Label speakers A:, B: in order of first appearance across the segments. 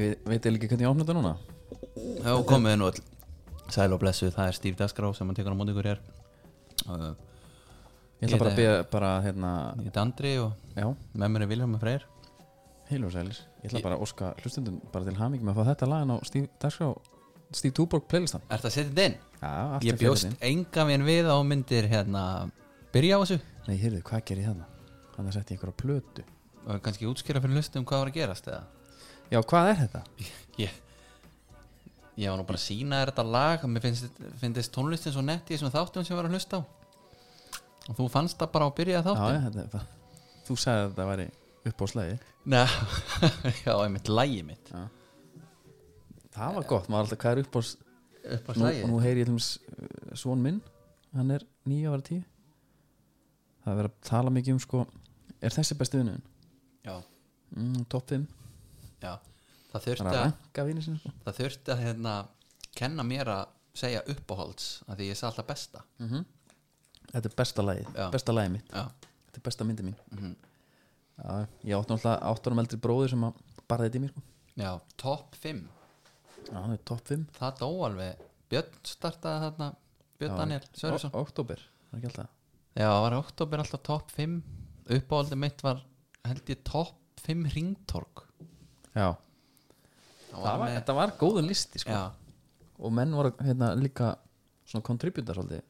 A: veit eiginlega ekki hvernig ég opna þetta núna
B: Já, komið nú all Sæl og blessu, það er Steve Dasgrá sem að tekur á móti ykkur hér Uh,
A: Ég ætla
B: Ég
A: bara að
B: heiti-
A: beða bara hérna
B: Ég heiti Andri og
A: Já,
B: með mér er Vilhelm og Freyr
A: heil og sælir Ég ætla bara að óska hlustundum bara til hamingi með að fá þetta lagin á Steve Dagskrá Steve Tuborg playlistan
B: Er það að setja þetta inn?
A: Já, allt
B: Ég
A: er fyrir
B: bjóst
A: þinn.
B: enga minn við á myndir hérna byrja á þessu
A: Nei, heyrðu, hvað gerir ég þarna? Þannig að setja ég ykkur á plötu
B: og kannski útskýra fyrir lustum hvað var að gerast eða
A: Já, hvað er þetta?
B: Ég Ég var nú bara að sína þér þetta lag mér finnst, finnst tónlistin svo nett í þessum þáttum sem ég var að hlusta á og þú fannst það bara á að byrja
A: Já,
B: þáttum
A: já, þetta er bara Þú sagði að þetta væri upp á slæði
B: Nei, já, einmitt lægi mitt
A: Það var gott, maður alltaf hvað er upp á
B: upp á
A: nú,
B: slægi
A: nú heyri ég til þess svon minn Hann er nýja ára tíu Það er verið að tala mikið um sko Er þessi besti vinnun?
B: já,
A: Mm, top 5
B: já. Það
A: Það
B: þurfti
A: er að
B: að,
A: ranka vinni sinni sko
B: það þurfti að hérna, kenna mér að segja uppáhalds af því ég sagði alltaf besta
A: Mhm. Þetta er besta lagið,
B: Já.
A: besta lagið mitt
B: já,
A: Þetta er besta myndi mín
B: Mhm.
A: Já, Ég átti náttúrulega áttunum eldri bróður sem að barði þetta í mér sko
B: já, top 5
A: Já, það er top 5
B: það dó alveg Björn startaði þarna Björn Daniel Sörjusson
A: Oktober, það er ekki alltaf
B: Já, það var í oktober alltaf topp 5 uppáhaldið mitt var held ég topp 5 ringtork
A: Já, það var, þetta var góður listi sko.
B: já,
A: og menn voru hérna, líka svona kontributar svolítið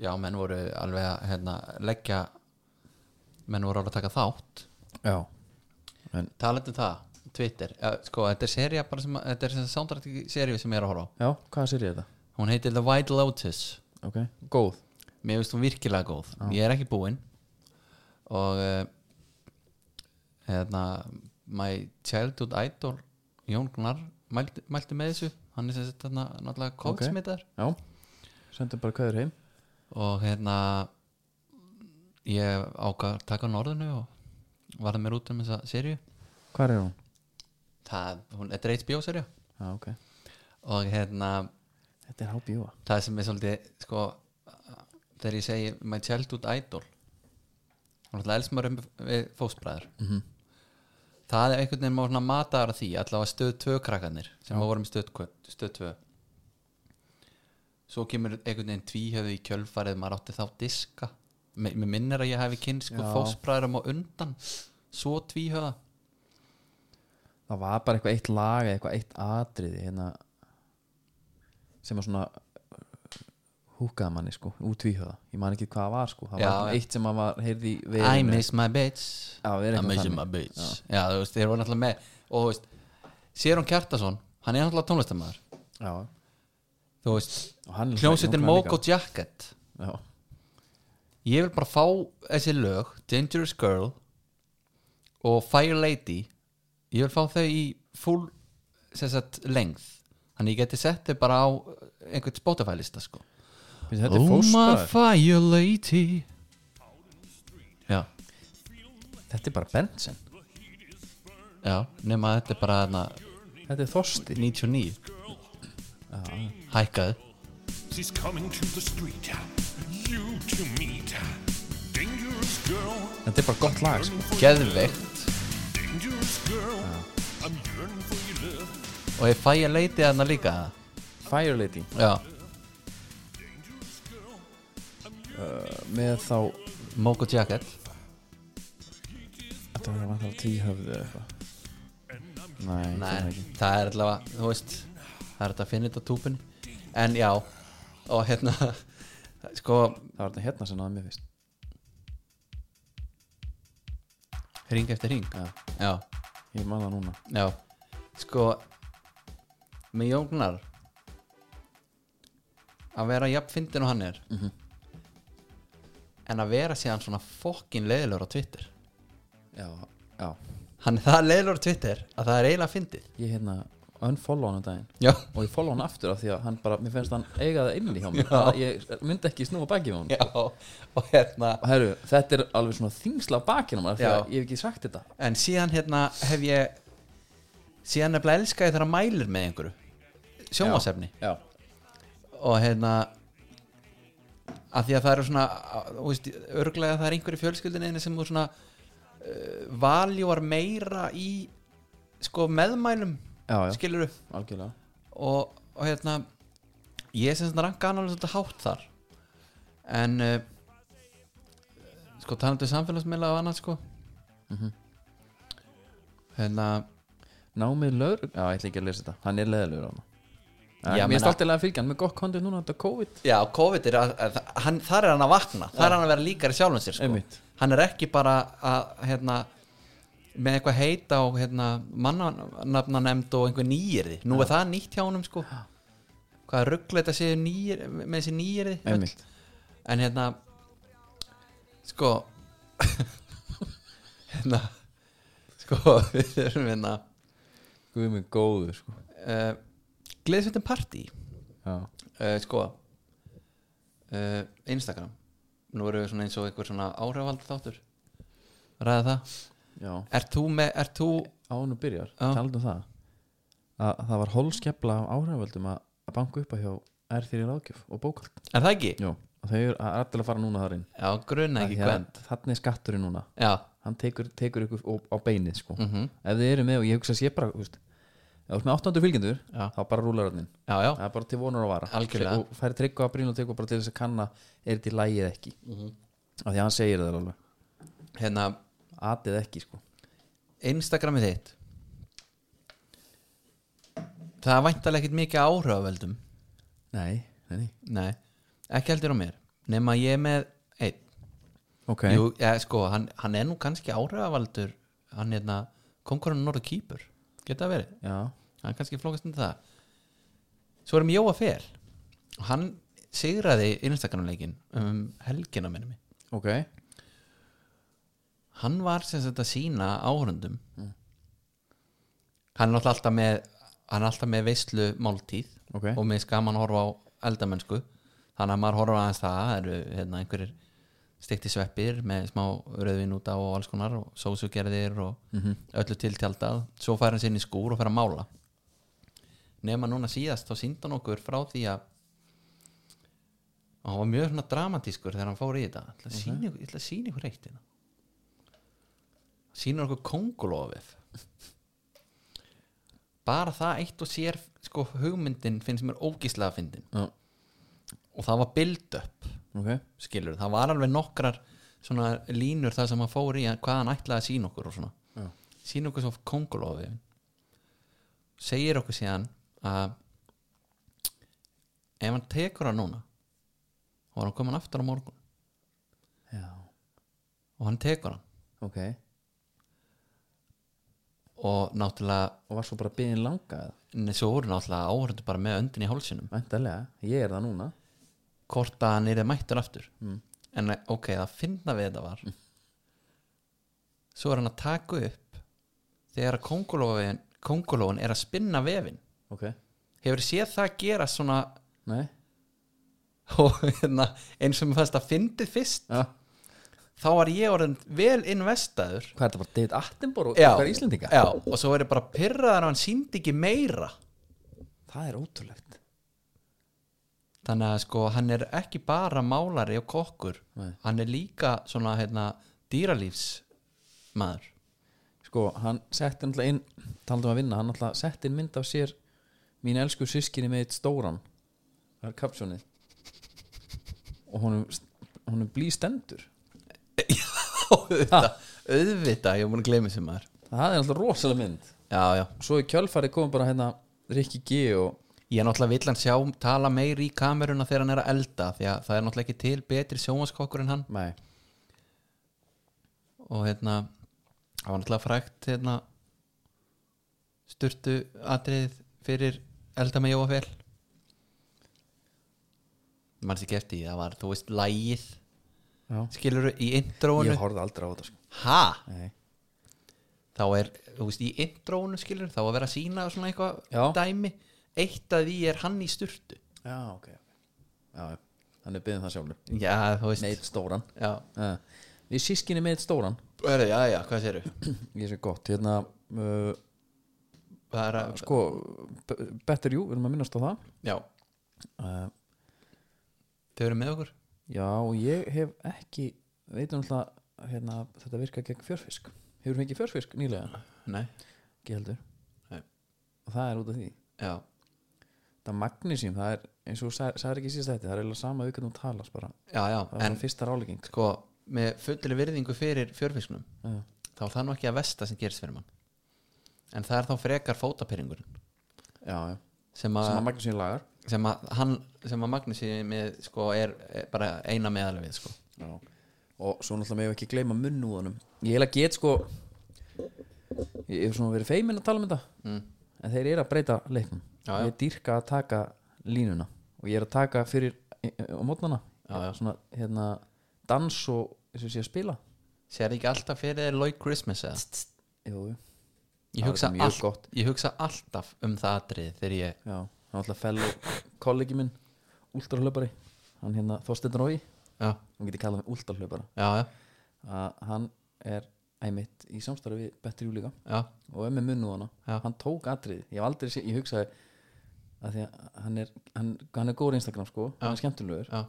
B: já, menn voru alveg að hérna, leggja menn voru alveg að taka þátt
A: Já en,
B: talandi um það, Twitter ja, sko, þetta er serja bara sem, að- þetta er sem soundtrack serju sem ég er að horfa á
A: Já, hvað sér ég þetta?
B: hún heitir The White Lotus
A: Ok, góð
B: mér finnst hún virkilega góð ég er ekki búinn og uh, hérna my childhood idol Jón Gunnar mælti, mælti með þessu hann er sem sagt þarna náttúrulega kótsmitar
A: Já, sendum bara kveður heim
B: og hérna ég ákvað að taka hann orðinu og varði mér út um þessa serju
A: Hvar er hún?
B: það, hún, þetta er HBO serja
A: Já, ok
B: og hérna
A: Þetta er hábjúa
B: það sem er svolítið sko, þegar ég segi my childhood idol og alltaf elst maður um við fóstbræður
A: Mhm.
B: -hmm. það er einhvern veginn maður svona mataðar af því, allavega stöð 2 krakkanir sem maður vorum í stöð, kvö- stöð 2 svo kemur einhvern veginn tvíhöfu í kjölfarið maður átti þá diska mér mér minnir að ég hefði kynnt sko
A: Já.
B: fóstbræðurum á undan svo tvíhöða
A: Það var bara eitthvað eitt lag eða eitthvað eitt atriði hérna, sem var svona húkaða manni sko, útvíhöða ég man ekki hvað það var sko, það
B: Já,
A: var svona
B: já.
A: eitt sem að var heyrði í
B: I
A: veðrinu.
B: miss my bitch
A: Já, við erum
B: I
A: eitthvað
B: miss
A: þannig.
B: my bitch Já, þú veist, þeir voru náttúrulega með og þú veist, Sérón Kjartason hann er náttúrulega tónlistamæður
A: Já,
B: þú veist,
A: og hann
B: hljómsveitin Moco Jacket
A: Já,
B: ég vil bara fá þessi lög Dangerous Girl og Fire Lady ég vil fá þau í full sem sagt, length þannig ég geti sett þau bara á einhvern Spotify lista sko
A: Finnst þetta
B: Oh
A: er fósbræður
B: Fire Lady Já,
A: Þetta er bara Benson
B: já, nema að þetta er bara þarna
A: Þetta er Þorsti
B: 99 hækkað
C: She's coming to the street. You to meet. Dangerous girl.
A: Þetta er bara gott lag sko.
B: geðveikt
C: Dangerous girl. I'm yearning for your love.
B: og ég fæ að leiti þarna líka
A: Fire Lady
B: já,
A: Með þá
B: Moco Jacket
A: Þetta var vantar tíhöfðu eða eitthvað Nei, Nei.
B: Nei,
A: ekki
B: það er allavega, þú veist það er þetta að finna þetta á túpunni en já, og hérna sko,
A: Það var þetta hérna sem náði mér fyrst
B: ring eftir ring
A: Já,
B: já,
A: ég man það núna
B: já sko með Jógnar að vera jafn fyndin og hann er en að vera síðan svona fokkin leiðilegur á Twitter
A: Já, já
B: hann er það leiðilegur á Twitter að það er eiginlega fyndið
A: Ég hérna unfollow hann um daginn
B: já,
A: Og ég follow hann aftur af því að hann bara Mér finnst hann eiga það inni hjá mér
B: Já.
A: Bara- Ég eh, myndi ekki snúa baki við hann
B: já, og hérna
A: Og herru, þetta er alveg svona þingsla á bakinu á mér af Því
B: Já.
A: að ég hef ekki sagt þetta
B: En síðan hérna hef ég síðan nefnilega elska ég þegar að mælir með einhverju sjónvasefni
A: Já,
B: og hérna að því að það eru svona að- þú veist, örglega það er einhverju fjölskyldinni sem þú svona uh, valjúar meira í sko meðmælum
A: já, já,
B: skilur
A: algjörlega
B: og, og hérna ég sem svona ranka hann alveg svolítið hátt þar en uh, sko talandi um samfélagsmiðla og annað sko hérna
A: Námið lögur, já, ég ætla ekki að lesa þetta Hann er leðilegur á hann
B: Já,
A: Mér
B: meina-
A: er alltaf að fyrir hann með gott kontið núna þetta COVID
B: já, COVID er að, að hann, þar er hann að vakna þar er hann að vera líkari sjálfum sér sko.
A: Einmitt.
B: hann er ekki bara að hérna með eitthvað heita og hérna mannafna nefnd og einhver nýjirði nú er það nýtt hjá honum sko hvað ruggla þetta séu nýjir með þessi nýjirði öll.
A: Einmitt
B: en hérna sko hérna sko við erum hérna
A: Guð mig góður, sko
B: uh, gleðsveitin partí
A: Já,
B: uh, sko uh, Instagram nú erum við svona eins og einhver svona áhrifald þáttur ræða það
A: já
B: ert þú með, ert þú
A: Ánu byrjar,
B: Já.
A: talaðu um það að það var holskepla á áhriföldum að að banka upp að hjá R3 ráðgjöf og bókald
B: er það ekki?
A: Jó, og þau eru að allir að fara núna þarinn
B: já, grunna ekki hvern
A: Þannig er skatturinn núna
B: já,
A: Hann tekur, tekur ykkur á- á beinið, sko
B: mhm,
A: Ef þið eru með og ég hugsa að sé bara, þú veist Ef þú ert með 800 fylgjendur,
B: Já.
A: þá bara rúlar hann
B: já, já,
A: það er bara til vonar og vara
B: Algjörlega.
A: og færi tryggu að brýna og tryggu bara til þess að kanna er þetta í lagi eða ekki
B: Mhm.
A: af því að hann segir það alveg
B: hérna
A: atið ekki sko
B: Instagramið þitt það er væntalega ekkert mikið af áhrifavöldum
A: nei, nei, nei
B: Nei, ekki heldur á mér nema ég er með einn
A: ok,
B: Jú, ja, sko, hann, hann er nú kannski áhrifavaldur hann hérna kongurinn Norður Kýpur geta það verið,
A: já,
B: hann kannski flókast undir það Svo erum Jóa Fel og hann sigraði Instagramleikin um helgina minni mig
A: ok
B: hann var sem sagt að sína áhörundum hann er náttúrulega alltaf með hann er alltaf með veislu máltíð
A: Ok.
B: og með skaman horfa á eldamennsku þannig að maður horfa aðeins það það eru hérna, einhverjir stekti sveppir með smá rauðvin út á og alls konar og sósugerðir og öllu tiltjaldað svo fær hann sér inn í skúr og fær að mála nema núna síðast þá sýndi hann okkur frá því að og hann var mjög svona dramatískur þegar hann fór í þetta ég ætla að sýna ykkur- ég ætla að sýna ykkur eitt hérna sýnir okkur kongulofið bara það eitt og sér sko hugmyndin finnst mér ógíslega fyndin
A: já.
B: og það var build up
A: ok,
B: skilur, það var alveg nokkrar svona línur það sem hann fór í að hvað hann ætlaði að sína okkur og svona
A: Já.
B: sína okkur svo kongulofið segir okkur síðan að ef hann tekur hann núna þá var hann komin aftur á morgun
A: já,
B: og hann tekur hann
A: ok
B: og náttúrulega
A: og var svo bara byggðin langa eða
B: Nei, svo voru náttúrulega áhörðu bara með öndin í hálsinum
A: væntalega, ég er það núna
B: hvort að hann er mættur aftur
A: Mm.
B: en ok, það finna við þetta var svo er hann að taka upp þegar kongulóin, kongulóin er að spinna vefin
A: ok,
B: hefur séð það gera svona
A: nei
B: og hérna, eins og mér fannst að fyndið fyrst
A: já.
B: þá var ég orðin vel investaður
A: hvað er þetta bara David Attenborough
B: Já.
A: og hvað Íslendinga
B: Já, og svo er ég bara pyrraðar að hann síndi ekki meira
A: það er ótrúlegt
B: þannig að sko hann er ekki bara málari og kokkur
A: Nei.
B: hann er líka svona hérna dýralífs maður
A: sko, hann setti náttúrulega inn talaðum að vinna, hann náttúrulega setti inn mynd af sér mín elsku sískinni með eitt stóran það er kapsjónið og honum, honum blý stendur
B: auðvitað, auðvitað, ég er búin að gleyma þessu maður
A: það er náttúrulega rosalega mynd
B: já, já,
A: svo í kjölfari kom bara hérna Rikki G og
B: ég er náttúrulega vill hann sjá tala meir í kameruna þegar hann er að elda því að það er náttúrulega ekki til betri sjómaskokkur en hann
A: nei,
B: og hérna, það var náttúrulega frækt hérna styrtu atriðið fyrir elda með Jóafél manns ekki eftir því, það var, þú veist, lægið
A: já.
B: skilur í introinu
A: ég horfði aldrei á þetta sko.
B: ha,
A: nei.
B: þá er, þú veist, í introinu skilur þá að vera að sína svona eitthvað
A: Já.
B: dæmi eitt að því er hann í sturtu
A: já, ok já, já. hann er byggðin það sjálfur
B: já, þú veist
A: með eitt stóran
B: já.
A: uh, við sískinni með eitt stóran
B: Hörðu, já, já, hvað séru
A: ég sé gott, hérna uh,
B: bara,
A: sko, B- Better You, við erum að minnast á það
B: já,
A: uh,
B: þau eru með okkur
A: Já, og ég hef ekki veitum alltaf hérna, þetta virka gegn fjörfisk Hefur þú fengið fjörfisk nýlega?
B: nei,
A: Ekki heldur
B: Nei.
A: og það er út af því
B: já,
A: það magnísím, það er eins og þú sagði ekki síst þetta, það er eiginlega sama aukvöld hún talas bara,
B: já, já.
A: það var
B: en
A: en, fyrsta rálegging
B: sko, með fullri virðingu fyrir fjörfisknum
A: Já.
B: þá er það nú ekki að vesta sem gerist fyrir mann en það er þá frekar fótapyrringur
A: já, já,
B: sem að,
A: sem að magnísím lagar
B: sem að, hann, sem að Magnusi með, sko, er, er bara eina meðal við sko.
A: já. og svo náttúrulega með ekki gleyma munnúðanum ég heila get sko ég hef svona verið feiminn að tala um þetta mm. en þeir eru að breyta leiknum
B: Já, já.
A: ég dýrka að taka línuna og ég er að taka fyrir eh, eh, á mótnana já, já. svona hérna dans og eins og sé að spila
B: sér ekki alltaf fyrir þér Lloyd Christmas eða?
A: jú, jú.
B: ég
A: Það
B: hugsa,
A: er mjög
B: all,
A: gott.
B: ég hugsa alltaf um það atrið þegar ég
A: já, hann alltaf fellow kollegi minn últralöpari, hann hérna Þorsteinn Rói,
B: já,
A: hann geti kallað mig últralöpara
B: já, já,
A: að hann er æmitt í samstarfi við Bettri Júlíka
B: já,
A: og er með munnuðana
B: Já.
A: hann tók atrið, ég hef aldrei sé, ég hugsaði að því að hann er hann, hann er góður Instagram sko, hann er skemmtilegur uh,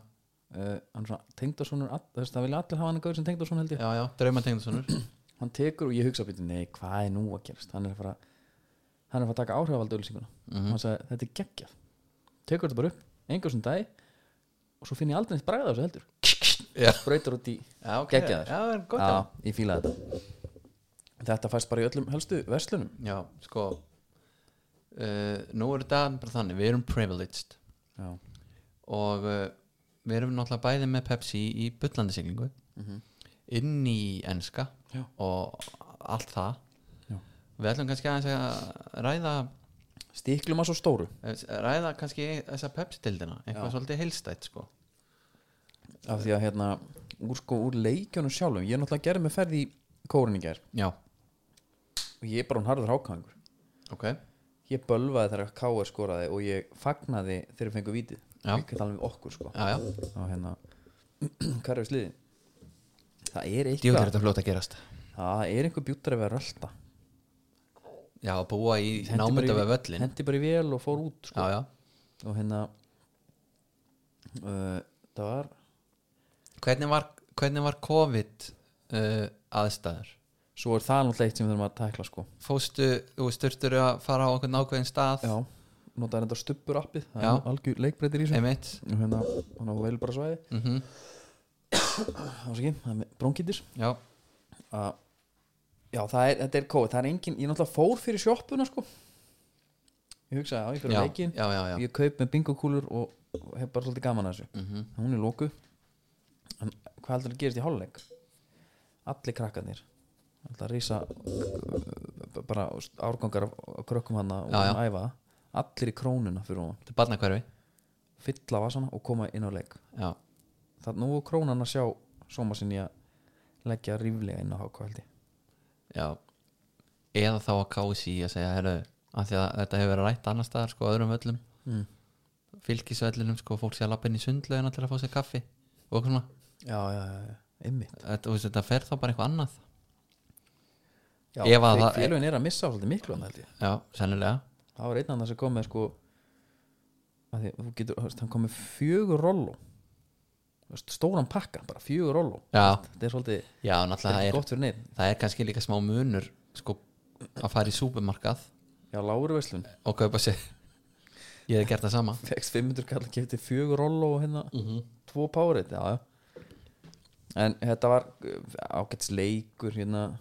B: já,
A: hann er svona tengdarsonur all- þú veist, það vilja allir hafa hann að góður sem tengdarsonur held ég
B: já, já draumatengdasonur
A: hann tekur og ég hugsa býtum, nei hvað er nú að gerast hann er að fara hann er að fara að taka áhrifaldi ölsinguna
B: Mhm.
A: hann sagði, þetta er geggjað tekur þetta bara upp, engur sem dag og svo finn ég aldrei neitt bræða þessu heldur
B: já,
A: brautar út í
B: já, ok,
A: geggjaður
B: já, en gott já.
A: Já, ég fíla þetta þetta fæst bara í öllum helstu verslunum
B: já, sko uh, nú er þetta bara þannig, við erum privileged
A: já,
B: og uh, við erum náttúrulega bæði með Pepsi í bullandisiglingu inn í enska
A: Mhm. Já.
B: og allt það
A: Já.
B: við ætlum kannski aðeins að ræða
A: stíklum að svo stóru
B: ræða kannski þessa Pepsi-dildina eitthvað svolítið heilstætt sko
A: af því að hérna, úr sko úr leikjunum sjálfum ég er náttúrulega gerði með ferð í kórinn í gær
B: já,
A: og ég er bara hún harður hákangur
B: ok
A: ég bölvaði þegar K.R. skoraði og ég fagnaði þegar fengu vítið
B: Já.
A: ég get alveg við okkur sko
B: já, já,
A: á hérna, hvað er við sliði það er
B: djúður
A: eitthvað
B: þetta fljóta að gerast
A: það er einhver bjúttar að vera rölda
B: já, að búa í
A: bara,
B: námönda
A: í-
B: við völlin
A: hendi bara í vél og fór út sko.
B: já, já,
A: og hérna uh, það var
B: hvernig var hvernig var COVID uh, aðstæður
A: svo er það náttúrulega eitt sem við þurfum að tækla sko
B: fóstu, þú styrtur að fara á okkur nákvæðin stað
A: já, notaði þetta stubbur appið það
B: Já.
A: er algjör leikbreytir í þessu
B: einmitt
A: og hérna, hann á vel bara svæði
B: mm
A: ásaki, það er með bronkitis
B: já,
A: að já, það er, þetta er COVID, það er engin ég náttúrulega fór fyrir sjoppuna sko ég hugsaði, já, ég fyrir
B: já,
A: leikin
B: já, já, já.
A: ég kaup með bingokúlur og, og hef bara svolítið gaman að þessu
B: Mhm.
A: -hmm. hún er lóku en hvað heldur að gerist í hálfleik allir krakkanir alltaf rísa uh, bara árgangar af af krökkum hana og
B: Já, já.
A: æfa það. allir í krónuna fyrir hún
B: þetta er barnakverfi
A: fylla vasana og koma inn á leik
B: já,
A: það nú er krónan að sjá sóma sinni að leggja ríflega inn á hákvældi
B: já eða þá að kási í að segja heru, að að þetta hefur verið rætt annar staðar sko, á öðrum völlum
A: Mm.
B: fylgisvellinum, sko, fólk sé að lappa inn í sundlaugina til að fá sér kaffi og eitthvað svona
A: já, já, já, ymmit
B: þetta, þú veist, þetta fer þá bara eitthvað annað Ef að það-
A: félugin er að missa á svolítið miklu þarna, held ég.
B: já, sennilega
A: það var einn annar sem kom með sko að því, þú getur, þú veist, hann kom með fjögur rollo Þú veist, stóran pakka, bara fjögur rollo
B: já,
A: þetta er svolítið,
B: já
A: þetta er
B: náttúrulega það
A: ekki
B: er,
A: gott fyrir neitt
B: það er kannski líka smá munur sko, að fara í súpermarkað
A: já, lágur veslun,
B: og kaupa sér ég hef gert það sama
A: fegst 500 kall kefti fjögur rollo og hérna
B: Mhm.
A: tvo párið, já, já en þetta var ágæts leikur hérna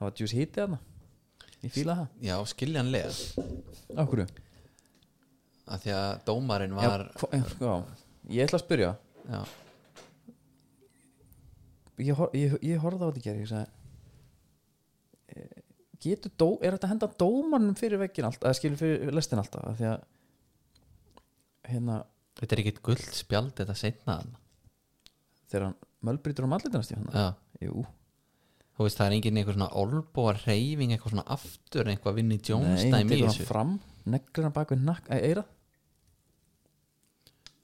A: það var djús hiti hérna ég fíla það,
B: já, skiljanlega
A: á hverju
B: að því að dómarinn
A: já,
B: var
A: hva, já, ég ætla að spyrja
B: já,
A: ég, hor- ég, ég horfði á þetta í gær, ég sagði eh, getur dó, er þetta að henda dómanum fyrir vekkin allt, eða skilur fyrir lestin alltaf af því að hérna,
B: þetta er ekkit guld spjald þetta setna hann
A: þegar hann um mölbrytur á mallitinast í hann,
B: já,
A: jú
B: þú veist það er enginn einhver svona olbóar reyfing eitthvað svona aftur eitthvað vinni
A: hann
B: djónstæmi í
A: tekur
B: þessu
A: hann fram, neglir hann bak við nakk, eh, eira,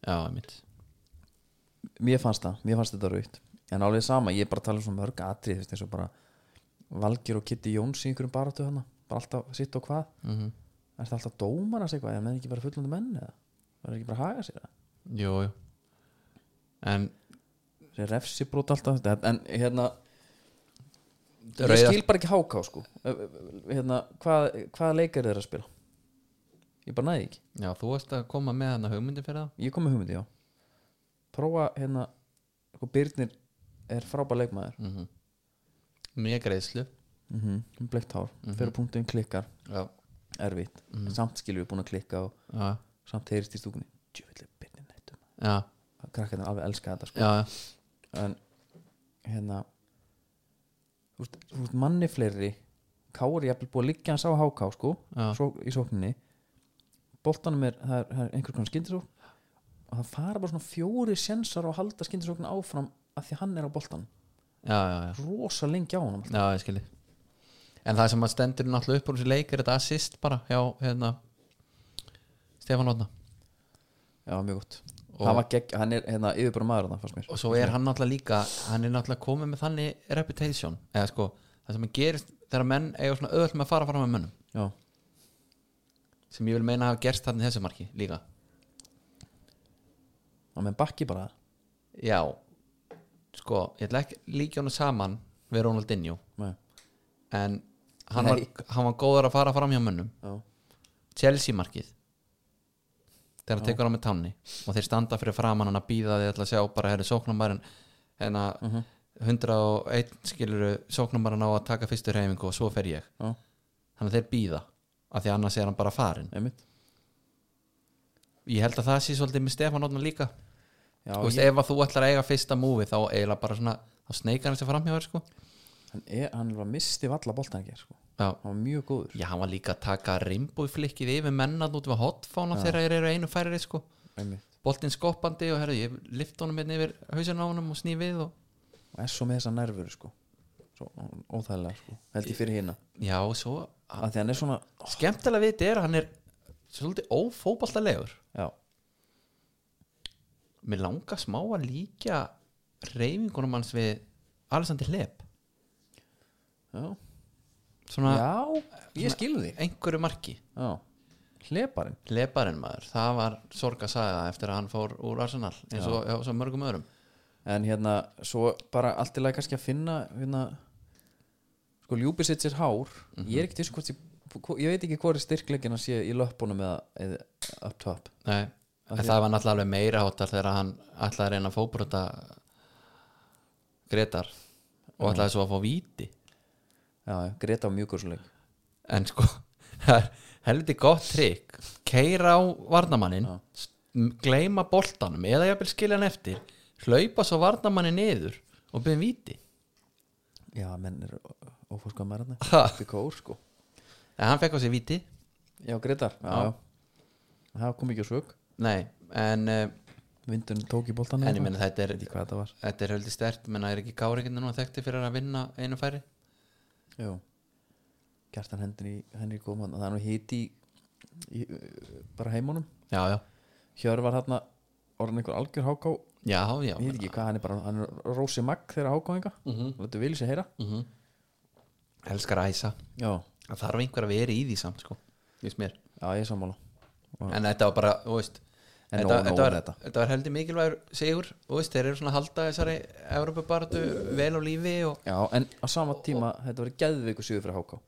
B: já, einmitt
A: mér fannst það mér fannst þetta raukt, en alveg sama ég er bara að tala um svona mörg atrið, þú veist, eins og bara Valgir og Kitty Jóns í einhverjum baráttu hann, bara alltaf sitt og hvað
B: mm
A: er þetta alltaf dómar að segja eitthvað, en menn ekki bara fullandi menn eða, verður ekki bara að haga sér það
B: jú, jú en
A: sem refsi brot alltaf þetta en hérna ég
B: Rauða-
A: skil bara ekki háká sko hérna, hvað, hvaða leikar þeir að spila ég bara næði ekki
B: Já, þú varst að koma með hann að hugmyndi fyrir það
A: ég kom með hugmyndi já prófa hérna sko, Birnir er frábær leikmaður
B: mm Mjög greiðslu
A: mm -hmm. bleikt hár, mm
B: Mhm.
A: -hmm. fyrir punktum klikkar
B: Já, Mhm.
A: erfitt, samt skilur við búin að klikka og
B: já,
A: samt heyrist í stúkunni djúvillig Birnir nættum
B: já,
A: krakkarnir alveg elska þetta sko
B: já.
A: en hérna þú veist, þú veist manni fleiri Káur jafnvel búið að liggja hans á háká sko
B: Já.
A: svo, í sókninni boltanum er, það er, það er einhvers konar skyndisókn og það fara bara svona fjóri sensar á að halda skyndisókn áfram að því hann er á boltanum
B: já, já, já.
A: rosa lengi á hann
B: Já, ég skilji En það sem að stendur náttúrulega upp úr þessi leik er þetta assist bara hjá hérna Stefán Ótna
A: já mjög gott
B: Og-
A: hann, gegg, hann er hérna yfirbúra maður þarna fannst mér
B: og svo er hann náttúrulega líka hann er náttúrulega komið með þannig reputation eða sko, það sem gerist þegar menn eiga svona öðvöld með að fara fram með mönnum
A: já,
B: sem ég vil meina að hafa gerst þannig þessu marki líka
A: hann með bakki bara
B: Já, sko, ég ætla ekki líka hann saman við Ronaldinho
A: Nei,
B: en hann var,
A: Nei.
B: hann var góður að fara fram hjá mönnum
A: já,
B: Chelsea markið þegar það tekur á með tánni og þeir standa fyrir framann hann að býða þeir ætla að sjá bara herri sóknumærin hérna
A: Mhm.
B: 101 skiluru sóknumærin á að taka fyrstu reyfingu og svo fer ég
A: já,
B: þannig að þeir býða af því annars er hann bara farin
A: einmitt
B: ég held að það sé svolítið með Stefán Ótnar líka
A: já,
B: þú veist
A: ég,
B: ef að þú ætlar að eiga fyrsta múfi þá eiginlega bara svona þá sneikar hann sér fram hjá þér sko
A: hann, er, hann var misti valla boltan ekki sko.
B: já.
A: hann var mjög góður
B: já, hann var líka að taka rimbúflikkið yfir mennað út við hotfána þegar þeir eru einu færið sko
A: einmitt
B: boltinn skoppandi og herrðu, ég lift honum hérna yfir hausinn á honum og sný við og
A: og er svo með þessa nervur sko. svo óþægilega sko. held ég fyrir hérna
B: já, og svo
A: að því hann er svona
B: skemmtilega við þetta er að hann er svolítið ófóbaltalegur
A: já,
B: mér langar smá að líka reyfingunum hans við Alessandi Hleb
A: já.
B: svona
A: já ég skilu þig
B: einhverju marki
A: já. hleparinn
B: Hlebarinn maður, það var sorg að sagði það eftir að hann fór úr Arsenal eins og hjá svo mörgum öðrum
A: en hérna svo bara allt í lagi kannski að finna hérna sko ljúbisitt sér hár ég er ekki þess hvort ég, ég veit ekki hvort styrkleikina sé í löppunum eða, eða up top
B: Nei, en það var náttúrulega alveg meira hátar þegar hann ætlaði að reyna að fóbrota Gretar og ætlaði svo að fá víti
A: já, já, Greta á mjúkursleik
B: en sko það er helviti gott trygg keira á varnamannin gleyma boltanum eða jafnvel skilja hann eftir hlaupa svo varnamannin niður og byrðum víti
A: já, menn er ófórskað maður hann
B: Ha.
A: upp í kór sko
B: en hann fekk á sig víti
A: já, Greta já, já. það kom ekki á svögg
B: nei, en, eh,
A: vindun tók í boltan
B: en ég meina þetta er
A: veit ekki hvað þetta var
B: þetta er helviti stert, menna er ekki káringin nú að þekkti fyrir að vinna einu færi
A: Jú. Kjartan Henry, Henry kom hann það er nú hiti í, í, bara heimunum
B: já, já,
A: Hjör var hann orðin einhver algjör háká
B: já, já Mhm.
A: ég veit ekki hvað hann er bara hann er rósi magg þegar hákáinga mm -hmm. og þetta vil sér heyra
B: mm elskar að æsa
A: já,
B: það þarf einhver að vera í því samt sko, finnst mér
A: já ég er sammála
B: en þetta var bara, þú veist
A: En
B: þetta,
A: nóg- nóg
B: þetta, var,
A: um
B: þetta.
A: þetta.
B: var heldur mikilvægur sigur þú veist, þeir eru svona að halda þessari Evrópubaratu vel á lífi og
A: já, en á sama tíma þetta var geðveiku sigur fyrir háká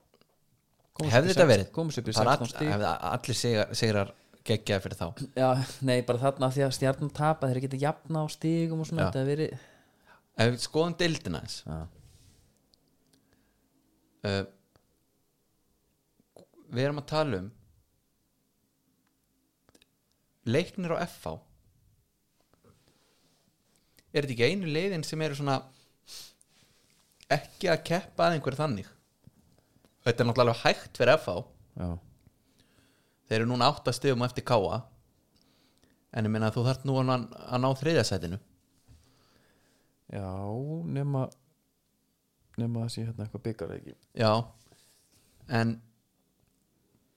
B: hefði þetta verið
A: komist upp í
B: Bara
A: 16
B: all-
A: stíg
B: hefði allir sigrar, sigrar geggjaði fyrir þá
A: já, nei, bara þarna því að stjarnan tapa þeir geta jafna á stígum og svona
B: Já.
A: þetta hefði verið
B: ef við skoðum deildina eins
A: já,
B: uh, við erum að tala um leiknir á FH er þetta ekki einu leiðin sem eru svona ekki að keppa að einhverju þannig þetta er náttúrulega alveg hægt fyrir FH
A: já,
B: þeir eru núna átta stegum eftir káa en ég meina að þú þarft nú að, að ná þriðasætinu
A: já nema nema að sé hérna eitthvað byggar eða ekki
B: já en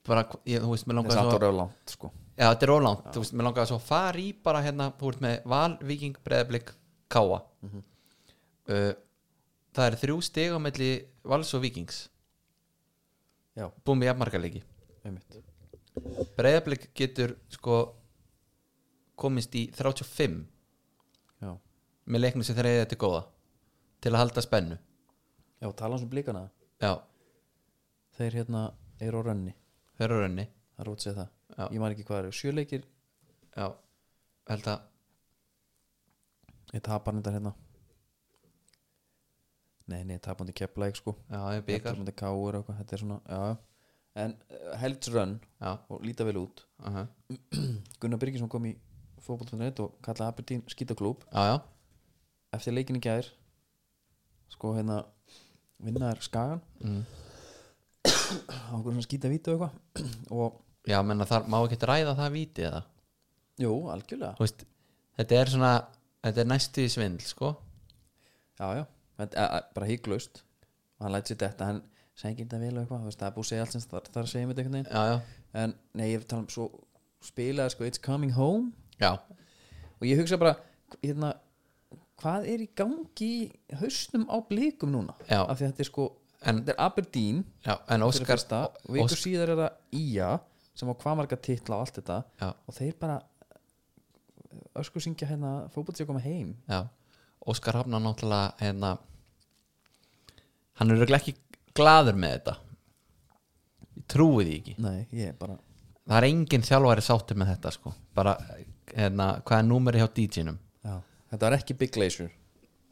B: bara, ég, þú veist, mér langar
A: þess
B: svo
A: að
B: að-
A: það er langt sko
B: Já, þetta er ólangt, þú veist, mér langaði svo að fara í bara hérna, þú ert með Val, Viking, Breiðablík, Káa
A: Mhm.
B: uh, Það er þrjú stig á melli Vals og Vikings
A: já,
B: Búmi jafnmarkaleiki
A: einmitt
B: Breiðablík getur sko komist í 35
A: já,
B: með leiknum sem þeir eigi þetta góða til að halda spennu
A: já, tala hans um blikana
B: já,
A: þeir hérna eru á rönni
B: þeir eru raunni
A: það er ótt segja það,
B: Já.
A: ég maður ekki hvað eru sjöleikir,
B: já, held að
A: ég tapar þetta hérna nei, nei, tapandi kepla sko
B: já, ég byggar,
A: tapandi káur og eitthvað, þetta er svona já. en uh, helds rönn
B: já,
A: og líta vel út
B: uh
A: Gunnar Byrgisson kom í fótboll.net og kallaði Aberdeen skítaklúb
B: já, já
A: eftir leikin í gær sko hérna vinnaður skagan
B: mm.
A: á okkur svona skítavíti og eitthvað og
B: já, menna þar má ekki ræða það víti eða,
A: jú, algjörlega
B: þú veist þetta er svona, þetta er næstu í svindl sko,
A: já, já, en, a, a, bara hygglaust og hann lætt sér þetta, hann segi þetta vel og eitthvað, þú veist, það er búið að segja allt sem það það er að segja með um einhvern veginn,
B: já, já
A: en nei, ég tala um svo spilaði sko It's Coming Home
B: já,
A: og ég hugsa bara, hérna hvað er í gangi í hausnum á blikum núna,
B: Já.
A: af því að þetta er sko
B: En-
A: þetta er Aberdeen
B: já, en
A: fyrir
B: Óskar
A: fyrsta, og vikur
B: Óskar,
A: síðar er það Ía sem á hvað marga titla og allt þetta
B: já,
A: og þeir bara ösku syngja hérna fótbolti að koma heim
B: já Óskar Hafnar náttúrulega hérna hann er örugglega ekki gladur með þetta ég trúi því ekki
A: nei, ég bara
B: það er enginn þjálfari sáttur með þetta sko bara, hérna, hvað er númeri hjá DJ-num
A: já. þetta var ekki Big Glacier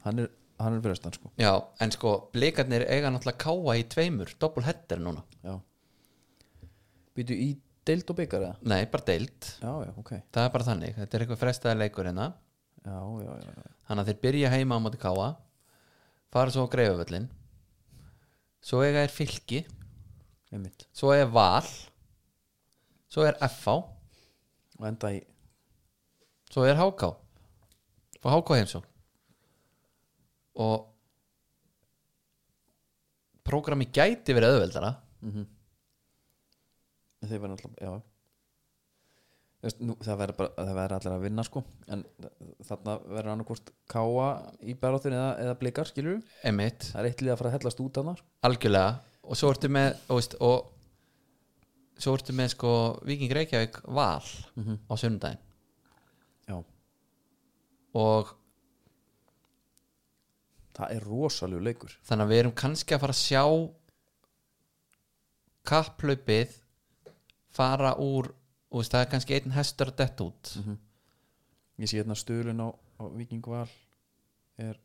A: hann er, hann er fyrir austan sko
B: já, en sko, blikarnir eiga náttúrulega káa í tveimur, doppul header núna
A: já býtu í deild og byggar eða
B: nei, bara deilt,
A: já, já, ok
B: það er bara þannig þetta er eitthvað frestaði leikur hérna
A: já, já, já, já.
B: þannig að þeir byrja heima á móti káa fara svo á greifavöllin svo eiga er fylki
A: einmitt
B: svo er val svo er FH
A: og enda í
B: svo er HK og HK heimsó og prógrami gæti verið auðveldara
A: Mhm. þeir verða alltaf, já Þú Veist, nú, það verður bara, það verður allir að vinna sko en þarna verður annarkvort káa í baráttun eða, eða blikar skilur
B: emitt,
A: það er eitt lið að fara að hellast út sko. hann
B: algjörlega og svo ertu með og, veist, og svo ertu með sko Viking Reykjavík val
A: Mhm.
B: á sunnudaginn
A: já,
B: og
A: það er rosalegu leikur
B: þannig að við erum kannski að fara að sjá kapplaupið fara úr og veist, það er kannski einn hestur að detta út
A: Mhm. ég sé hérna stöðlun á, á Viking Val er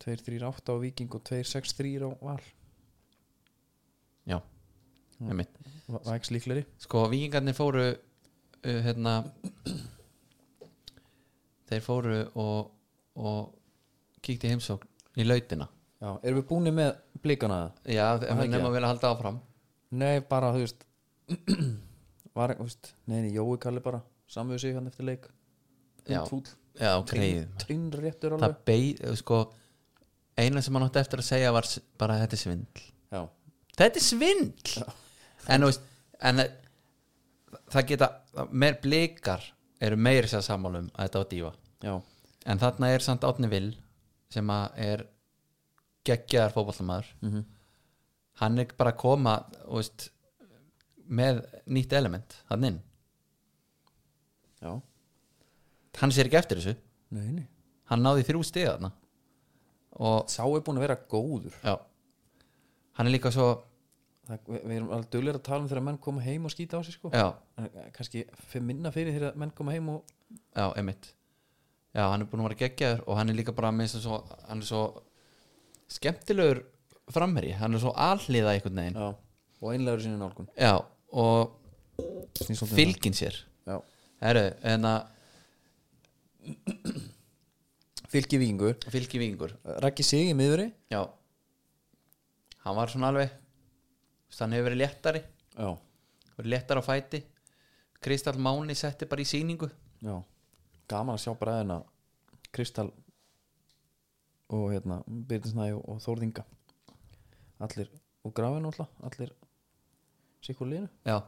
A: 2-3-8 á Viking og 2-6-3 á Val
B: já, emitt
A: Va- Vax líkleri
B: sko vikingarnir fóru uh, hérna þeir fóru og, og kíkti í heimsókn í lautina
A: já, erum við búinir með blikana það?
B: já, ef
A: það
B: við
A: ekki?
B: nefnum að vilja halda áfram
A: nei, bara, þú veist var, þú veist, nei, nei, Jói kalli bara samveg sig hann eftir leik
B: Já.
A: fúll,
B: já, ok
A: tinn réttur
B: það
A: alveg
B: beið, eh, sko eina sem hann átti eftir að segja var s- bara þetta er svindl
A: já,
B: þetta er svindl en þú veist en, eh, það geta, meir blikar eru meiri sér sammálum að þetta á dífa
A: já,
B: En þarna er samt Átni Vil sem að er geggjaðar fótbollamæður
A: Mhm.
B: hann er bara að koma þú veist, með nýtt element hann inn,
A: já
B: hann sér ekki eftir þessu
A: nei, nei,
B: hann náði þrjú stiga þarna og
A: sá er búin að vera góður
B: já hann er líka svo
A: það, við, við erum alveg duglega að tala um þegar menn koma heim og skýta á sig sko
B: já,
A: En kannski fyrir minna fyrir þegar menn koma heim og
B: já, emitt já, hann er búin að vera geggjaður og hann er líka bara minnst svo, hann er svo skemmtilegur framherji, hann er svo alhliða einhvern veginn
A: Já, og einlegur sinni nálgun
B: já og
A: Snýst svolítið um
B: fylgin sér
A: það.
B: Herru, hérna, en að
A: Já. Fylki Víkingur
B: fylgi vingur
A: Raggi Sig í miðveri
B: Já Hann var svona alveg þú veist, Hann hefur verið léttari
A: Já,
B: verið Léttari á fæti Kristall Máni setti bara í sýningu
A: já Gaman að sjá bræðina Kristal og hérna Byrninsnæ og, og Þórðinga Allir og grafin alltaf Allir sikur liðinu
B: Já,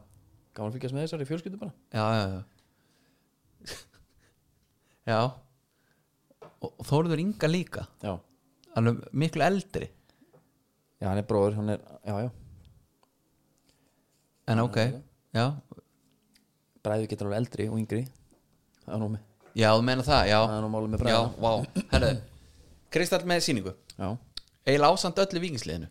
A: Gaman að fylgjast með þessari fjölskyldu bara
B: já, já Já, já. Og og Þórður Inga líka
A: Já,
B: Hann er miklu eldri
A: já hann er bróður hann er, Já, já,
B: En ok, já
A: bræði getur alveg eldri og yngri Það er nú með
B: Já, þú meina það, já
A: Það er nú málið með
B: Já,
A: bræðina
B: vá, herru Kristall með sýningu
A: Já,
B: Eh, eiginlega ásamt öllu vikingsliðinu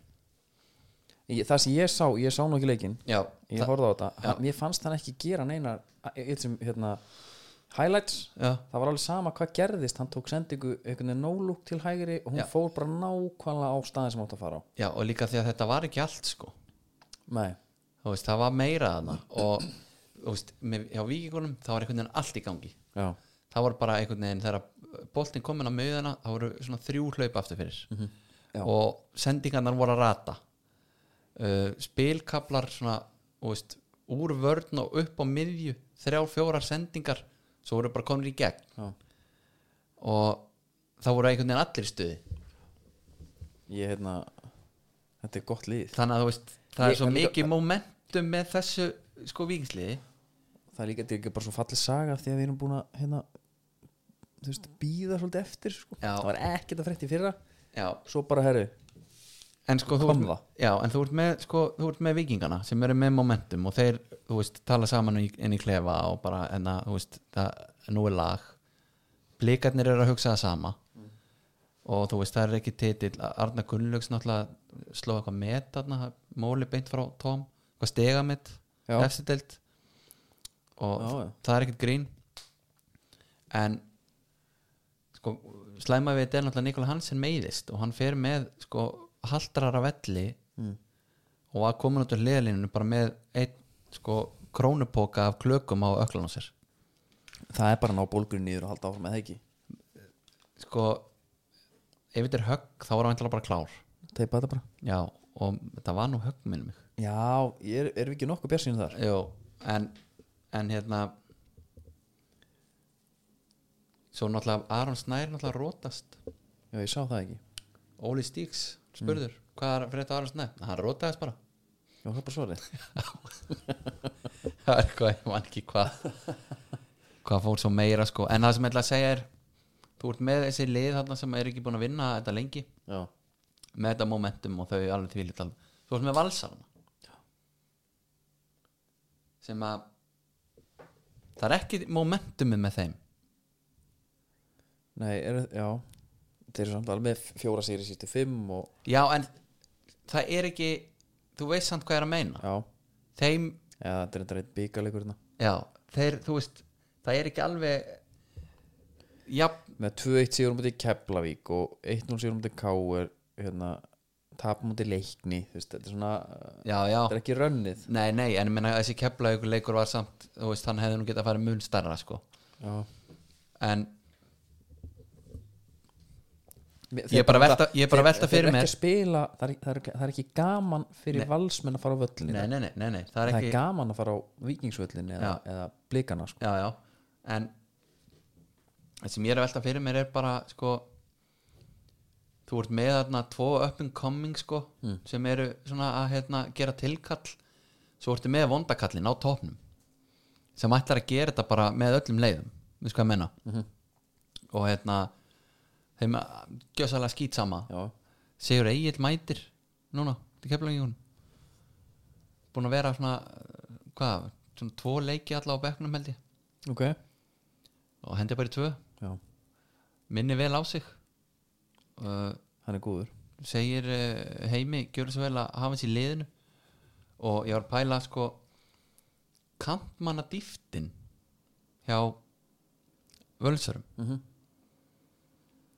A: ég, það sem ég sá, ég sá nú ekki leikinn
B: já,
A: ég
B: það-
A: horfði á þetta, hann, mér fannst hann ekki gera neina eitt sem, hérna highlights,
B: já,
A: það var alveg sama hvað gerðist hann tók sendingu einhvern veginn nólúk til hægri og hún
B: Já.
A: fór bara nákvæmlega á staðin sem átt að fara á
B: já, og líka því að þetta var ekki allt sko
A: nei,
B: þú veist, það var meira þarna og þú veist, með, hjá vikingunum það var einhvern veginn allt í gangi
A: já,
B: það var bara einhvern veginn þegar boltin komin á miðuna það voru svona þrjú hlaup aftur fyrir
A: Mhm, Já.
B: og sendingarnar voru að rata uh, spilkablar svona þú veist, úr vörn og upp á miðju þrjá fjórar sendingar svo voru bara komin í gegn
A: já
B: og það voru einhvern veginn allir í stuði
A: ég hérna, þetta er gott lið
B: þannig að þú veist það
A: Ég-
B: er svo
A: en líka-
B: mikið momentum með þessu sko vikingsliði
A: það er líka, þetta er ekki bara svo fallið saga af því að við erum búin að hérna, þú veist, býða svolítið eftir sko.
B: Já.
A: það var ekkert að frétti fyrra
B: já
A: svo bara herri,
B: en sko þú
A: Kom
B: ert,
A: það?
B: já, en þú ert með sko, þú ert með vikingana sem eru með momentum og þeir, þú veist, tala saman í- inn í klefa og bara, en að, þú veist það, nú er lag blikarnir eru að hugsa það sama og þú veist, það er ekki titill Arna Gunnlaugs náttúrulega sló eitthvað met þarna, móli beint frá Tom eitthvað stega mitt,
A: Já.
B: efstirdelt og
A: Já, já.
B: það er ekkert grín en sko, slæma við þetta er náttúrulega Nikola Hansen meiðist og hann fer með sko, haldrara velli
A: Mm.
B: og var komin út úr liðalínunum bara með einn sko, krónupoka af klökum á öklan á sér
A: það er bara að ná bólgurinn niður og halda áfram með það ekki
B: sko, ef þetta er högg þá var hann væntanlega bara klár
A: teipa þetta bara
B: já, og þetta var nú högg minnum mig
A: já, er, erum við ekki nokkuð bjarsinu þar
B: Jó, en, en hérna Svo náttúrulega Aron Snær náttúrulega rótast
A: já, ég sá það ekki,
B: Óli Stíks spurður Hvað er fyrir þetta Aron Snær? Hann rótaðist bara
A: já, það er bara svarið
B: Það er eitthvað, ég man ekki hvað Hvað fór svo meira sko En það sem ég ætla að segja er Þú ert með þessi lið þarna sem er ekki búin að vinna þetta lengi
A: já,
B: Með þetta momentum og þau alveg því lítal Þú ert með valsarna Sem að Það er ekki momentumið með þeim
A: nei, er, já þeir eru samt alveg með fjóra sýri sýstu fimm og,
B: Já, en það er ekki þú veist samt hvað ég er að meina
A: já,
B: þeim,
A: já þetta er þetta reitt bíkalegur hérna.
B: já, þeir, þú veist það er ekki alveg já,
A: með 2-1 sigur mútið Keflavík og 1-0 sigur mútið Káur hérna, tap mútið Leikni þú veist, þetta er svona uh,
B: já, já
A: þetta er ekki rönnið
B: nei, nei, en ég meina þessi keflaug leikur var samt, þú veist, hann hefði nú getað að fara mun starra, sko,
A: já.
B: en
A: Mér-
B: Ég er bara að velta- ég er bara að velta
A: þeir-
B: fyrir
A: þeir eru ekki
B: mér.
A: að spila, það, er, það, er, ekki- það er ekki gaman fyrir valsmenn að fara á völlin
B: nei, nei, nei, nei, nei það
A: það
B: er
A: er
B: ekki
A: gaman að fara á vikingsvöllin eða, eða blikana sko.
B: já, já, en það sem ég er að velta fyrir mér er bara, sko þú ert með þarna tvo up and coming, sko sem eru svona að hérna, gera tilkall svo ertu með vondakallin á topnum sem ætlar að gera þetta bara með öllum leiðum, við sko að menna og hérna þeim gjössalega skýt sama
A: já,
B: Sigur Egil mætir núna til keflaugjónum búin að vera svona hvað, svona tvo leiki alla á bekknum held ég
A: ok já.
B: og hendi bara í tvö, minni vel á sig uh,
A: hann er góður
B: segir uh, heimi gjörðu svo vel að hafa hans í liðinu og ég var að pæla sko kantmanna dýftin hjá völsörum
A: Mhm.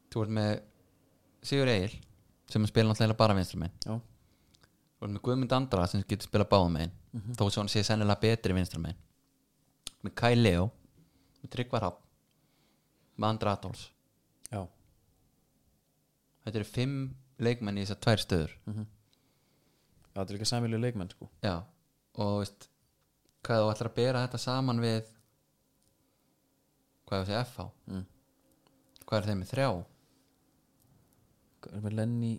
B: þú ert með Sigur Egil sem spila náttúrulega bara vinstrum einn
A: já,
B: þú ert með Guðmund Andra sem getur spilað báðum einn þó svo hann sé sennilega betri vinstrum einn með Kai Leo með Tryggvar Hafn með Andra Adolfs
A: já,
B: þetta eru fimm leikmenn í þessar tvær stöður
A: já þetta er líka samvilið leikmenn sko.
B: Já, og þú veist hvað þú ætlar að bera þetta saman við hvað þú segir FH
A: Mm.
B: hvað er þeim með þrjá
A: Erum við Lenny,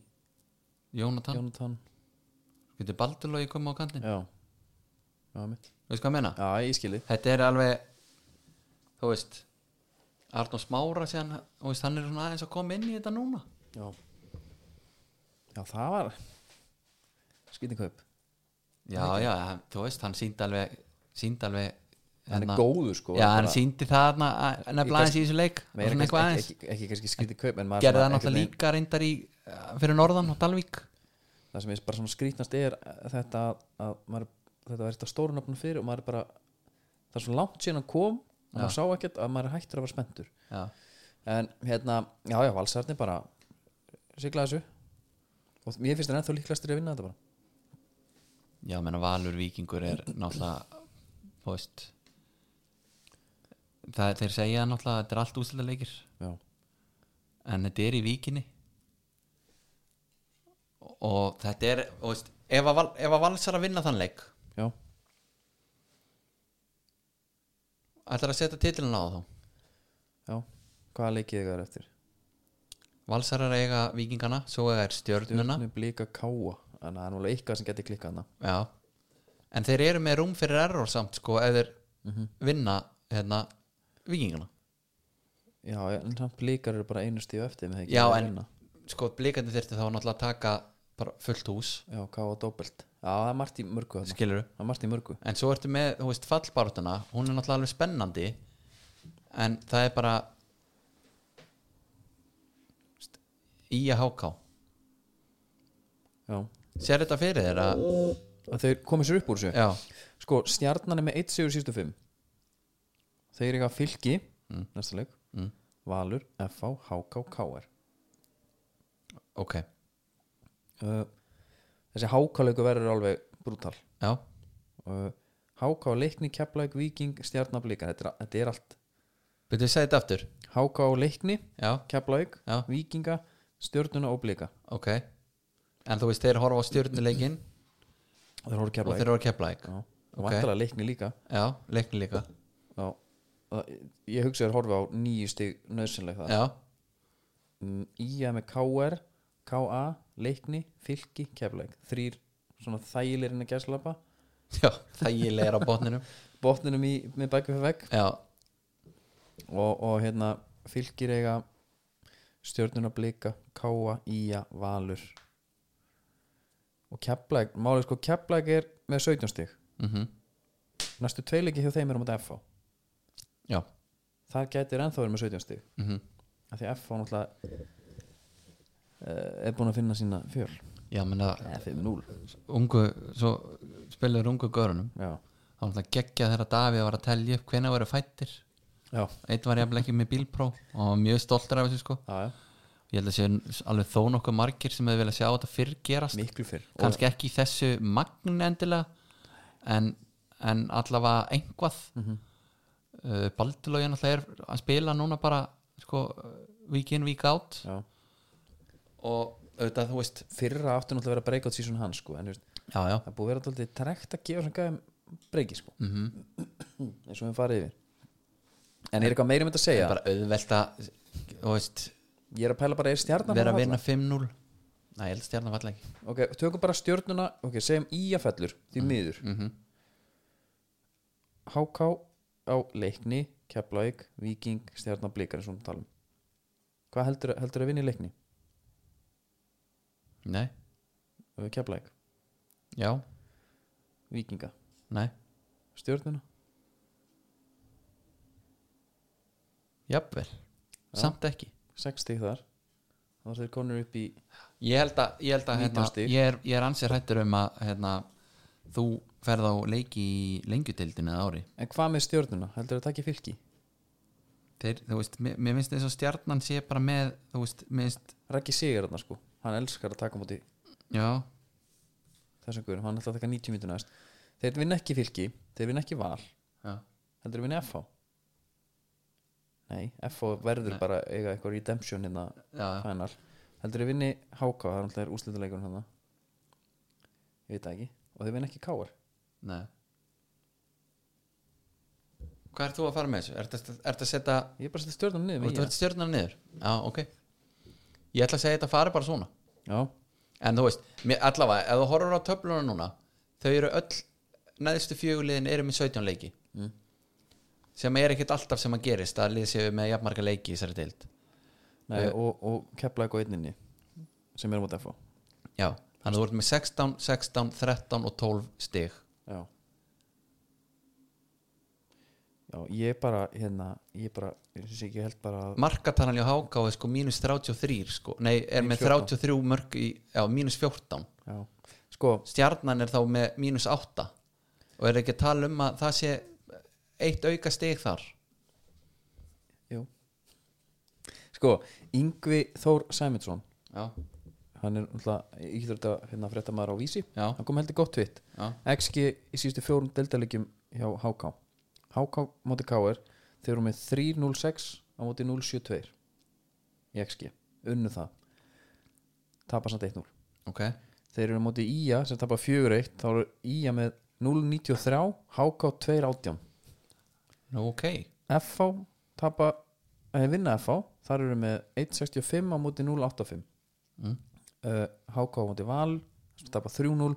B: Jónatan, Jón.
A: Jónatan
B: getur Baldurlogi koma á kantin
A: já, já, mitt
B: veist hvað ég meina?
A: já, ég skilji
B: Þetta er alveg þú veist Arnó Smára síðan, þú veist, hann er svona aðeins að koma inn í þetta núna
A: já. já, það var skýting kaup
B: Já, já, hann- þú veist, hann síndi alveg síndi alveg
A: hann
B: hérna-
A: er góður sko
B: Já,
A: bara-
B: hann síndi það þarna að- nefnilega aðeins í þessu leik og
A: meira kannski,
B: svona eitthvað aðeins
A: ekki, ekki, ekki kannski skrítið kaup en maður
B: gerði
A: svona
B: það náttúrulega
A: einhvern
B: líka reyndar í eh, fyrir norðan á Dalvík
A: það sem ég bara svona skrítnast er eh, þetta að- að maður, þetta var þetta stóru nafnum fyrir og maður er bara það er svo langt síðan hann kom og maður sá ekkert að maður er hættur að vera spenntur
B: já.
A: en hérna, já já, valsarni bara sigla þessu og mér finnst það ennþá líklastur að vinna þetta bara
B: já, menna Valur Víkingur er náttúrulega þú veist það er þeir segja náttúrulega að þetta er allt úsildaleikir
A: já,
B: en þetta er í Víkinni og þetta er og veist, ef, að, Val- ef að Valsar að vinna þann leik
A: já,
B: ætlar að setja titilin á þá
A: já hvaða leikið það er eftir?
B: Valsarar eiga vikingana, svo er stjörnuna
A: Stjörnu blíka káa þannig að það er núlega eitthvað sem geti klikkað hana
B: Já En þeir eru með rúm fyrir error samt sko ef þeir vinna hérna vikingana
A: já, en samt blíkar eru bara einu stíu eftir með það ekki
B: Já
A: að
B: en
A: vinna.
B: sko blikandi þyrfti þá náttúrulega að taka bara fullt hús
A: já, káa doppelt já, það er margt í mörgu þarna
B: skiluru
A: það er margt í mörgu
B: En svo ertu með, þú veist, fallbártuna hún er náttúrulega alveg spennandi en það er bara í að háká
A: já,
B: Sér þetta fyrir þér að
A: að þeir komið sér upp úr þessu
B: Já,
A: sko, stjarnan er með 1 sigur sístu 5 þeir eiga fylki næsta leik,
B: Mm.
A: valur FH, HK, KR
B: ok
A: uh, þessi HK leiku verður alveg brútal
B: Já,
A: uh, HK leikni, keflæk, viking, stjarnablíkar þetta, er- þetta er allt
B: betur við segja þetta aftur
A: HK leikni,
B: Já,
A: keflæk,
B: Já.
A: vikinga stjörnuna og blíka
B: ok En þú veist, þeir horfa á stjörnuleikin
A: og þeir horfðu
B: og
A: keflæk
B: þeir eru að kepla ekki
A: og
B: ok.
A: vantilega leikni líka
B: Já, leikni líka
A: já, það, ég hugsa að horfa á nýju stig nöðsynlega það
B: Já,
A: Mm, Ía með KR, KA, Leikni, Fylki, Keflæk þrýr svona þægilegir inn að gæslappa
B: já, þægilega er á botninum
A: botninum í, með bækjum fyrir vegg
B: Já,
A: og, og hérna Fylkir eiga stjörnuna blika, KA, Ía, Valur og Keflæk málið sko Keflæk er með 17 stig
B: mhm,
A: næstu tveileiki hjá þeim er á móti FH
B: já
A: það gætir ennþá verið með 17 stig
B: mhm
A: af því FH náttúrulega eh, er búin að finna sína fjöl
B: Já, menna,
A: eða 5-0
B: ungu, svo spilaður ungu görunum
A: já,
B: þá var það geggja þegar Davíð var að telja upp hvenær voru fættir
A: já,
B: Eitt var jafnvel ekki með bílpró og hann var mjög stoltur af þessu sko
A: já, já.
B: Ég held að sé alveg þó nokkuð margir sem hefur viljað sjá þetta fyrr gerast
A: miklu fyrr
B: Kannski ekki í þessu magn endilega en, en allavega einhvað mm -hmm. uh, Baldurlógin alltaf er að spila núna bara sko, vík in, vík out
A: Já.
B: og auðvitað þú veist
A: fyrra aftur náttúrulega að vera breakout season hans sko, en þú veist,
B: já, já,
A: það er búið að vera alltaf trekt að gefa svona gæðum breiki sko. mm -hmm. eins og við farið yfir en er eitthvað meira um þetta að segja
B: bara auðvelt að þú veist,
A: ég er að pæla bara er stjarnan
B: vera
A: að
B: að
A: falla?
B: vinna 5-0 Nei, ég held stjarnan falla ekki
A: ok, tökum bara stjörnuna, ok, segjum í að fellur því miður mm
B: Mhm.
A: -hmm. HK á leikni Keflavík, Víking, stjarnan blikar eins og við talum hvað heldur, heldur að vinna í leikni?
B: Nei,
A: Keflavík,
B: já,
A: Víkinga
B: nei,
A: stjörnuna?
B: jafnvel samt ekki
A: 60 þar þá er þeir konur upp í
B: Ég held að, ég held að
A: 19
B: hérna,
A: stig.
B: ég, er, ég er ansið hættur um að hérna, þú ferð á leiki í lengjutildinu eða ári
A: En hvað með stjórnuna? Heldur það ekki fylki?
B: Þeir, þú veist, mér, mér finnst eins og stjarnan sé bara með, þú veist, mér finnst
A: Raggi Sigur þarna sko Hann elskar að taka á móti
B: já,
A: þessum guðurum Hann ætla að taka 90 mítur næst Þeir vinna ekki fylki Þeir vinna ekki val
B: já,
A: Heldur þeir vinna FH Nei, FH verður bara að eiga eitthvað redemption hérna
B: já, já.
A: Fænar Heldur þeir vinni HK Það er alltaf úrslitaleikurinn hann Ég veit það ekki Og þeir vinna ekki KR
B: nei Hvað ert þú að fara með þessu? Ertu að- ertu að setja
A: Ég er bara að setja stjórnuna niður
B: Þú
A: með
B: ert stjörnar niður Já, ok Ég ætla að segja þetta fari bara svona
A: IA. Já,
B: En þú veist, mér, allavega, ef þú horfur á töfluna núna Þau eru öll Neðstu fjöguliðin eru með 17 leiki Sem er ekkert alltaf sem að gerist Að liðið séu með jafnmarga leiki í þessari deild
A: Nei, og, og kepla eitthvað einninni Sem er á móti FH
B: Já, þannig að þú ert með 16, 16, 13 og 12 stig
A: Já Já, ég bara, hérna, ég bara ég syns ekki, ég held bara að
B: markatalan hjá HK er sko mínus 33 sko. nei, er
A: Mínus
B: með 33 mörg í, já, mínus 14
A: já. Sko,
B: stjarnan er þá með mínus 8 og er ekki að tala um að það sé eitt auka stig þar
A: jú Sko, Yngvi Þór Sæmundsson
B: já,
A: hann er náttúrulega íþjóta hérna frétta maður á vísi
B: Já.
A: hann kom heldur gott vitt
B: já,
A: XG í síðustu fjórum deildalegjum hjá HK HK móti KR þeir eru með 3.06 á móti 0.72 í XG, unnu það tapa samt 1-0
B: ok
A: þeir eru á móti IA sem tapa 4-1 þá eru IA með 0-93 HK 2-18
B: nú ok,
A: FH tapa eh, vinna FH, þar eru með 1.65 á móti 0.85
B: Mm.
A: uh, HK á móti Val sem tapa 3-0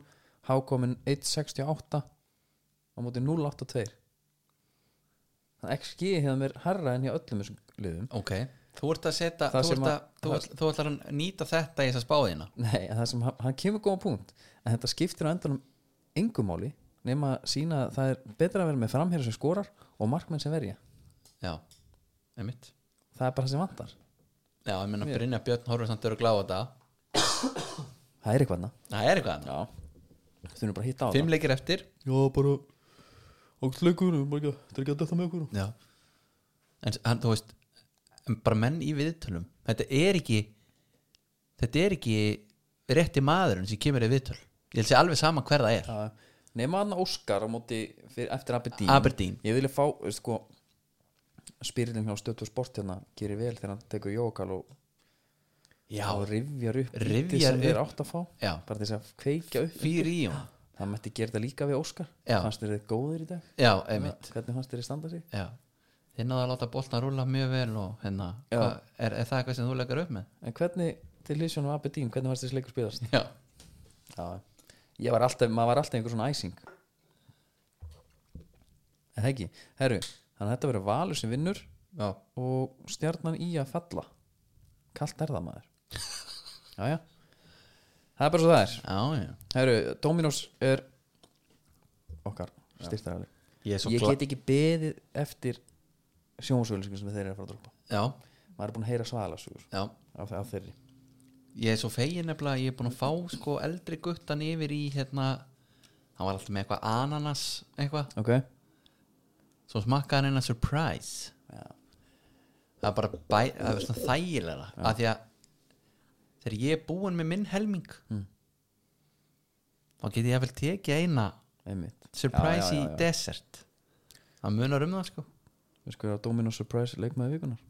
A: HK með 1.68 á móti 0.82 þannig að XG hefða mér herra en hjá öllum þessum liðum
B: ok þú ert að setja,
A: Það
B: þú,
A: sem
B: ert að,
A: að-
B: þú, ert, þú ætlar að nýta þetta í þessa spáðina
A: Nei, en það sem hann, hann kemur góða punkt en þetta skiptir á endanum engumáli nema að sína að það er betra að vera með framherra sem skorar og markmenn sem verja
B: já, einmitt
A: það er bara það sem vantar
B: já, ég meina Brynja Björn horfum samt eru gláða þetta
A: það er eitthvað
B: það er eitthvað annað,
A: Já Þú erum bara að hitta á
B: fimm leikir eftir
A: Já, bara Ógstleikur, þetta er ekki að detta með okkur
B: Já En hann, þú veist en bara menn í viðtölum þetta er ekki þetta er ekki rétti maðurinn sem kemur í viðtöl ég held sé alveg sama hver það er
A: Nefna hann Óskar á móti fyrir, eftir Aberdeen
B: Aberdeen.
A: Ég vilja fá, veist, sko Spyrilin hjá stötu og sport hérna gerir vel þegar hann tekur jókal og,
B: Já,
A: og rifjar upp
B: Rifjar
A: lítið sem þeir
B: upp.
A: átt að fá
B: Já.
A: bara til þess að kveikja upp
B: fyrir í hún
A: Það mætti gera það líka við Óskar
B: Já.
A: Fannst þér þið góðir í dag?
B: Já, einmitt
A: Hvernig fannst þér þið standa sig?
B: Já Þið náðu að láta boltan rúla mjög vel og hérna,
A: Já.
B: hvað, er, er það eitthvað sem þú leggur upp með?
A: En hvernig, til hlýsjónum Aberdeen, hvernig fannst þér sleikur spilast?
B: Já,
A: Já, ég var alltaf, maður var alltaf einhver svona æsing En það ekki, herru Þannig að þetta verður valur sem vinnur
B: já,
A: og stjarnan í að falla Kalt er það maður Jæja Það er bara svo það er
B: já, já.
A: Herru, Dominos er okkar styrtaræli
B: Ég er svo
A: Ég
B: gla-
A: get ekki beðið eftir sjónsölusingum sem þeir eru að fara að droppa
B: Já,
A: Maður er búin að heyra svaðalarsögur
B: já
A: af, af þeirri
B: Ég er svo fegin nefnilega að ég er búin að fá sko eldri guttan yfir í hérna hann var alltaf með eitthvað ananas eitthvað
A: Ok,
B: svo smakkaði hann eina surprise
A: Já.
B: það er bara bæ, það er svona þægilega af því að þegar ég er búin með minn helming þá get ég vel tekið eina
A: einmitt
B: surprise
A: Já, já, já, já.
B: í desert það munar um það sko
A: Við skoðum að Dominos Surprise leikmaði vikunar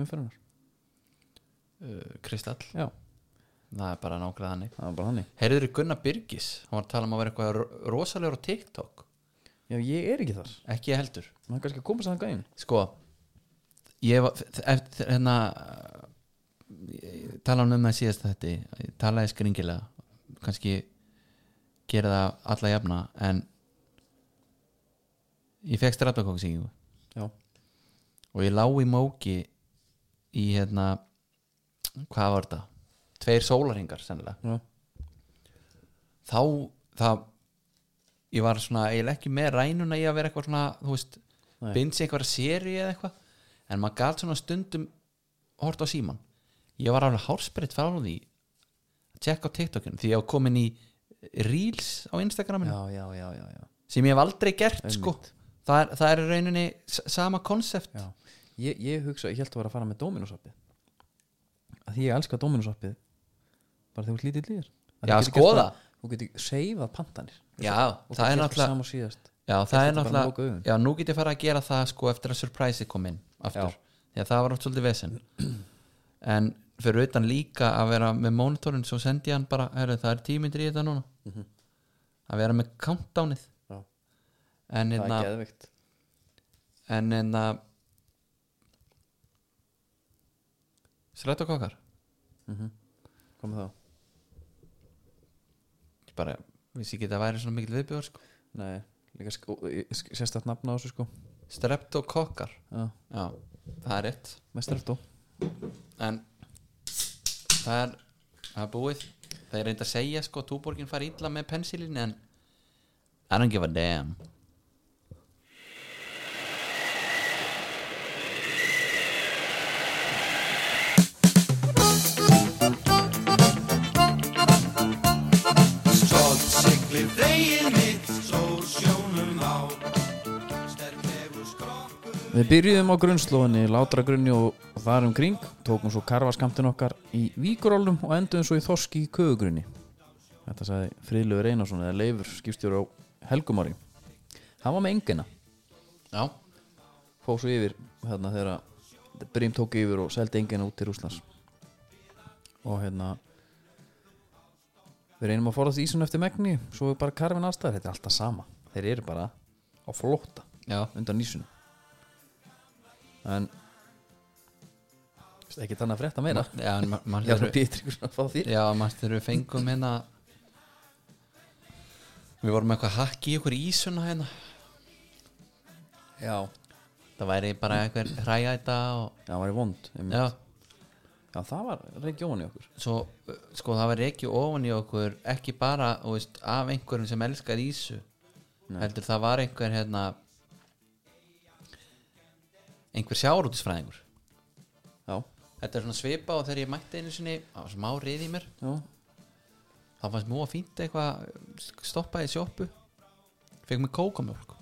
A: Umferðunar
B: uh, Kristall,
A: Já,
B: það er bara nákvæmlega þannig
A: það var bara hannig
B: heyrður Gunnar Byrgis, hann var að tala um að vera eitthvað ro- rosalegur á TikTok
A: Já, ég er ekki þar
B: ekki ég heldur
A: Það er kannski að koma sann gæðin
B: sko ég var eftir hérna ég talaði um það síðast þetta ég talaði skringilega kannski gera það alla jafna en ég fekk strafnakóksíkingu
A: Já,
B: og ég lá í móki í hérna hvað var þetta? tveir sólarhingar sennilega
A: já,
B: þá það, ég var svona eiginlega ekki með rænuna í að vera eitthvað svona þú veist,
A: Nei.
B: binds eitthvað seri eða eitthvað en maður galt svona stundum hort á síman ég var alveg hárspiritt frá því að tjekka á TikTokinu því ég var komin í Reels á Instagraminu
A: já, já, já, já, já.
B: sem ég hef aldrei gert
A: Einmitt.
B: sko það er, það er í rauninni s- sama konsept
A: já. Ég, ég hugsa, ég held að vera að fara með Dominos-appið að Því ég elska Dominos-appið bara þegar þú ert lítill í þér Að
B: Já,
A: þú getur gert
B: skoða.
A: bara- Þú getur seifað pantanir
B: Já,
A: og
B: það er náttúrulega-
A: Sam og síðast
B: Já,
A: þetta
B: það
A: bara með
B: er
A: lokuð
B: náttúrulega
A: augun.
B: Já, nú get ég fara að gera það sko eftir að surprise kom inn aftur, því að það var oft svolítið vesen en fyrir utan líka að vera með monitorinn svo sendi ég hann bara, herri, það er tímyndir í þetta núna að vera með countdownið
A: Mhm. Já,
B: en
A: það
B: hérna
A: er geðveikt
B: en hérna Strætókokkar
A: Komið Mhm. þá
B: ég bara, vissi ekki að það væri svona mikil viðbjör sko.
A: Nei, líka sk- og- ég- sk- sérstætt nafna á þessu sko
B: Streptokokkar
A: Já,
B: Já, það er rétt
A: mest eftir
B: en það er, það er búið það er reynd að segja sko túborgin fari illa með pensilin en I don't give a damn
A: Við byrjuðum á grunnslóðinni, látra grunni og þar um kring, tókum svo karfaskamtin okkar í víkurólum og enduðum svo í þorski í köfugrunni. Þetta sagði Friðlöfur Einarsson eða Leifur skipstjóri á Helgumári. Hann var með engina,
B: Já,
A: fóð svo yfir hérna þegar að Brím tók yfir og seldi engina út til Rúslands. Og hérna, við reynum að forðast ísun eftir megni, svo er bara karfin aðstæðar, þetta er alltaf sama. Þeir eru bara á flótta
B: já,
A: undan ísunum en Veist, ekki þannig að frétta meira
B: já, en ma-
A: ég er
B: manstu
A: að býta ykkur að fá því
B: Já, mannstu þegar við fengum hérna Við vorum með eitthvað hakk í ykkur ísuna hérna
A: já,
B: Það væri bara eitthvað hræja þetta og
A: það var í vond já.
B: Já,
A: já, það var reikjóðan í okkur
B: svo uh, sko það var ekki ofan í okkur ekki bara, þú veist, af einhverjum sem elskar ísu heldur það var einhver hérna einhver sjárútisfræðingur
A: já,
B: Þetta er svona svipa og þegar ég mætti einu sinni á smá rið í mér
A: já,
B: þá fannst mjög fínt eitthvað stoppaði í sjoppu fekk mig kókamjólk
A: ok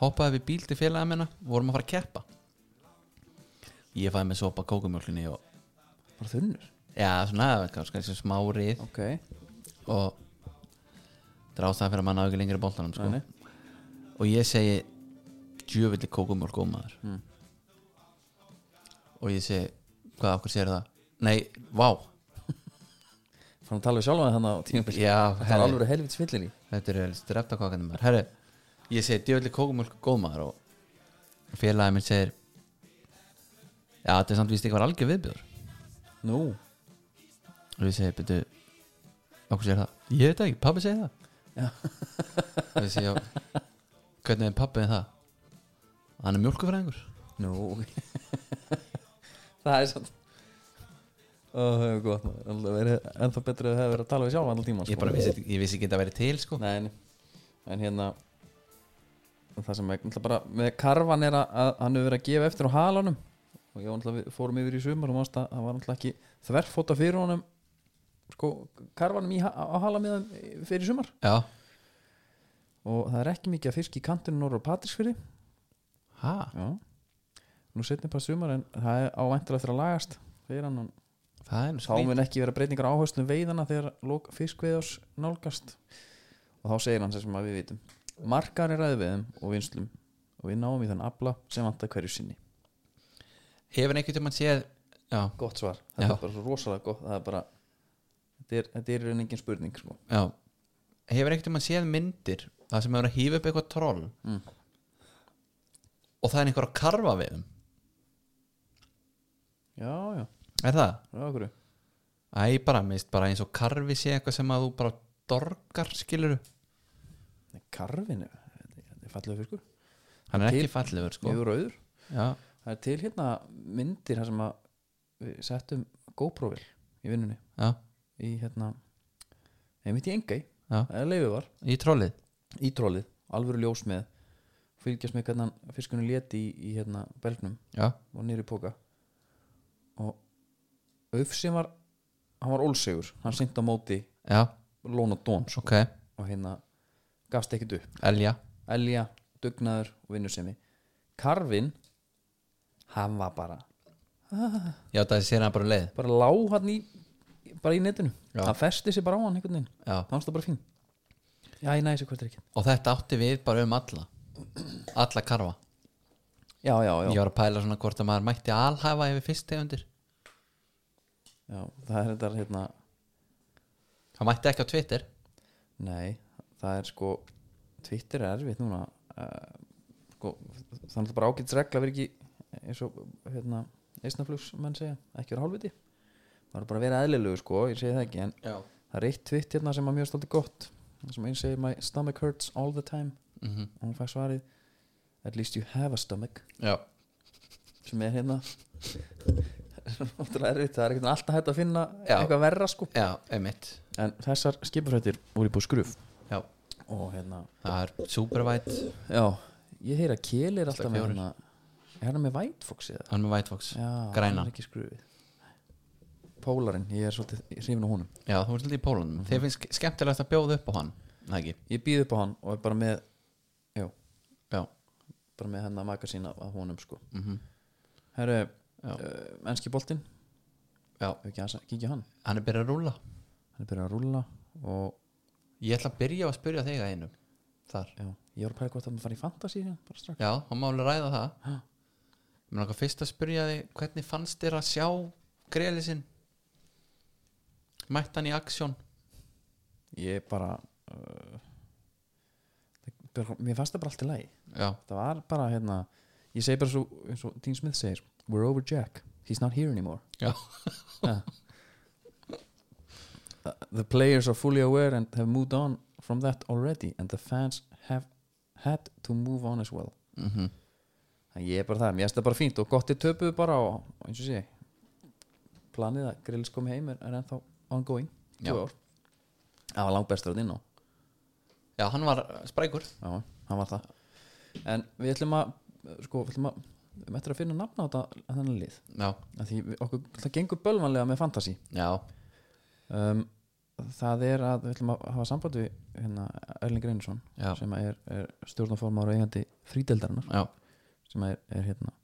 B: hoppaði við bíl til félaga minna vorum að fara að keppa ég fæði með sopa kókamjólkinni og
A: bara þunnur
B: já, svona, kannski eins og smá rið
A: ok,
B: og drást það fyrir að manna á ekki lengri boltanum sko.
A: Nei, nei.
B: og ég segi djöfilli kókumjólk ómaður
A: Hmm.
B: mm. og ég segi hvað okkur sér það nei, vá,
A: fann að tala við sjálfan þannig á tímabill
B: já,
A: það er
B: herri
A: alveg helvits fyllir í
B: þetta eru strefta kakandi maður herri, ég segi djöfilli kókumjólk gómaður og félagið minn segir já, þetta er samt víst eitthvað algjör viðbjör
A: nú,
B: og ég segi, betur okkur sér það, ég veit það ekki, pabbi segi það og ég segi, já hvernig er pabbi með það hann er mjólkufræðingur
A: nú ok. það er sann Ó, það hefur gott maður Alveg verið ennþá betra að það hefur verið að tala við sjálfan alltaf tíma sko.
B: ég bara vissi, ekki- ég vissi ekki að það væri til sko
A: Nei, nei. en hérna það sem er náttúrulega bara með karvan er að, að hann hefur verið að gefa eftir á halanum og ég var náttúrulega, við fórum yfir í sumar og mannst að það var náttúrulega ekki þverfóta fyrir honum sko, karvanum í, ha- á halamiðan fyrir í sumar
B: já,
A: og það er ekki mikið að fisk í kantinu norður á Patrísfyrir
B: ha,
A: Já Nú setnir bara sumar en það er ávæntur eftir að lagast þegar hann
B: það er
A: þá
B: nú skvít
A: mun ekki vera breytingar áherslum veiðana þegar lók fiskveiðars nálgast og þá segir hann sem sem að við vitum markar er aðveiðum og vinslum og við náum í þann afla sem vantar hverju sinni
B: hefur einhvern tímann séð já,
A: gott svar, þetta
B: Já.
A: er bara svo rosalega gott það er bara, þetta er, þetta er í raun engin spurning sko.
B: já hefur einhvern tímann séð myndir það sem hefur að hýfa upp eitthvað troll
A: Mm.
B: og það er einhver að karfa við þeim
A: já, já,
B: er það?
A: já, okkur
B: Æ, bara, mist bara eins og karfi sé eitthvað sem að þú bara dorgar skiluru
A: karfinu, þetta er fallega fiskur
B: hann er
A: Til-
B: ekki fallegur sko
A: mjög rauður,
B: já,
A: það er til hérna myndir þar sem að við settum GoPro-vil í vinnunni
B: já,
A: í hérna, einmitt í engai
B: Já.
A: eða leifið var
B: í trollið
A: í trólið, alvöru ljós með fylgjast með hvernig hann fiskunni leti í, í hérna belgnum
B: já,
A: og nýri póka og Öfsin var hann var ólsegur, hann sint á móti
B: já,
A: Lóna Dón sko,
B: ok,
A: og hérna gafst ekkert upp
B: elja
A: Elja, Dugnaður og vinnusemi Karfin hann var bara,
B: já, það sér hann bara um leið
A: bara lá hann í bara í netinu,
B: Já.
A: hann festi sig bara á hann einhvern veginn,
B: já.
A: hann stóð bara fín Já, ég næði sér hvert er ekki
B: og þetta átti við bara um alla alla karfa
A: Já, já, já,
B: ég var að pæla svona hvort að maður mætti alhæfa yfir fyrst tegundir
A: já það er þetta hérna
B: það mætti ekki á Twitter
A: Nei, það er sko Twitter er erfitt núna uh, sko, þannig að bara ágætis regla verið ekki eins og hérna, eisnaflugs menn segja, ekki vera hálfviti það er bara að vera eðlilegu sko, ég segi það ekki en
B: já,
A: það er eitt tvitt hérna sem að mjög stolti gott þar sem einn segir my stomach hurts all the time
B: mm
A: og hún fæk svarið at least you have a stomach
B: já.
A: sem er hérna ótrúlega erfitt, það er ekkert alltaf hægt að finna
B: Já.
A: eitthvað verra sko
B: já, einmitt
A: en þessar skipafrættir voru í búið skruf
B: já.
A: og hérna
B: það er supervætt
A: Já, ég heyra að Kjeli er alltaf
B: Slag
A: með
B: fjórir.
A: hana Er hann með White Fox eða?
B: hann með White Fox
A: Já,
B: Græna.
A: hann er ekki skrufið Pólarinn, ég er svolítið hrifin á honum
B: já, þú ert svolítið í Pólunum þeir finnst skemmtilegt að bjóða upp á hann Nei, ekki
A: Ég býð upp á hann og er bara með Já,
B: já,
A: bara með hennar magasín af, af honum sko
B: mm
A: herru,
B: Já.
A: uh, ennski boltinn
B: Já.
A: Ef ekki að kíkja á hann
B: Hann er byrjað að rúla
A: hann er byrjað að rúlla og
B: Ég ætla að byrja á að spyrja þig að einu Þar
A: já, ég var að pæla hvort að hann fara í fantasy hérna, bara strax
B: Já, hann má alveg ræða það
A: Ha.
B: Mér langar fyrst að spyrja þig Hvernig fannst þér að sjá greiðlisinn? Mætt hann í aksjón?
A: ég bara uh, það- bara- mér fannst það bara allt í lagi
B: Já,
A: það var bara hérna ég segi bara svo, eins og Dean Smith segir we're over Jack, he's not here anymore
B: já,
A: yeah. Uh, the players are fully aware and have moved on from that already and the fans have had to move on as well
B: mm
A: þannig ég er bara það, mér finnst það bara fínt og gott er töpuð bara og og eins og sé planið að grills kom heim er, er ennþá ongoing,
B: Já.
A: tvö ár það var langt bestur að inn á
B: já hann var eh, sprækur
A: Já, hann var það En við ætlum að sko, við ætlum að við ætlum eftir að finna nafna á þetta að þennan lið
B: Já,
A: að því við, okkur, það gengur bölvanlega með fantasy
B: já,
A: um, það er að við ætlum að hafa samband við hérna, Erling Reynsson
B: já,
A: sem að er, er stjórnaformaður og eigandi frídeldarinnar
B: já.
A: sem að er, er hérna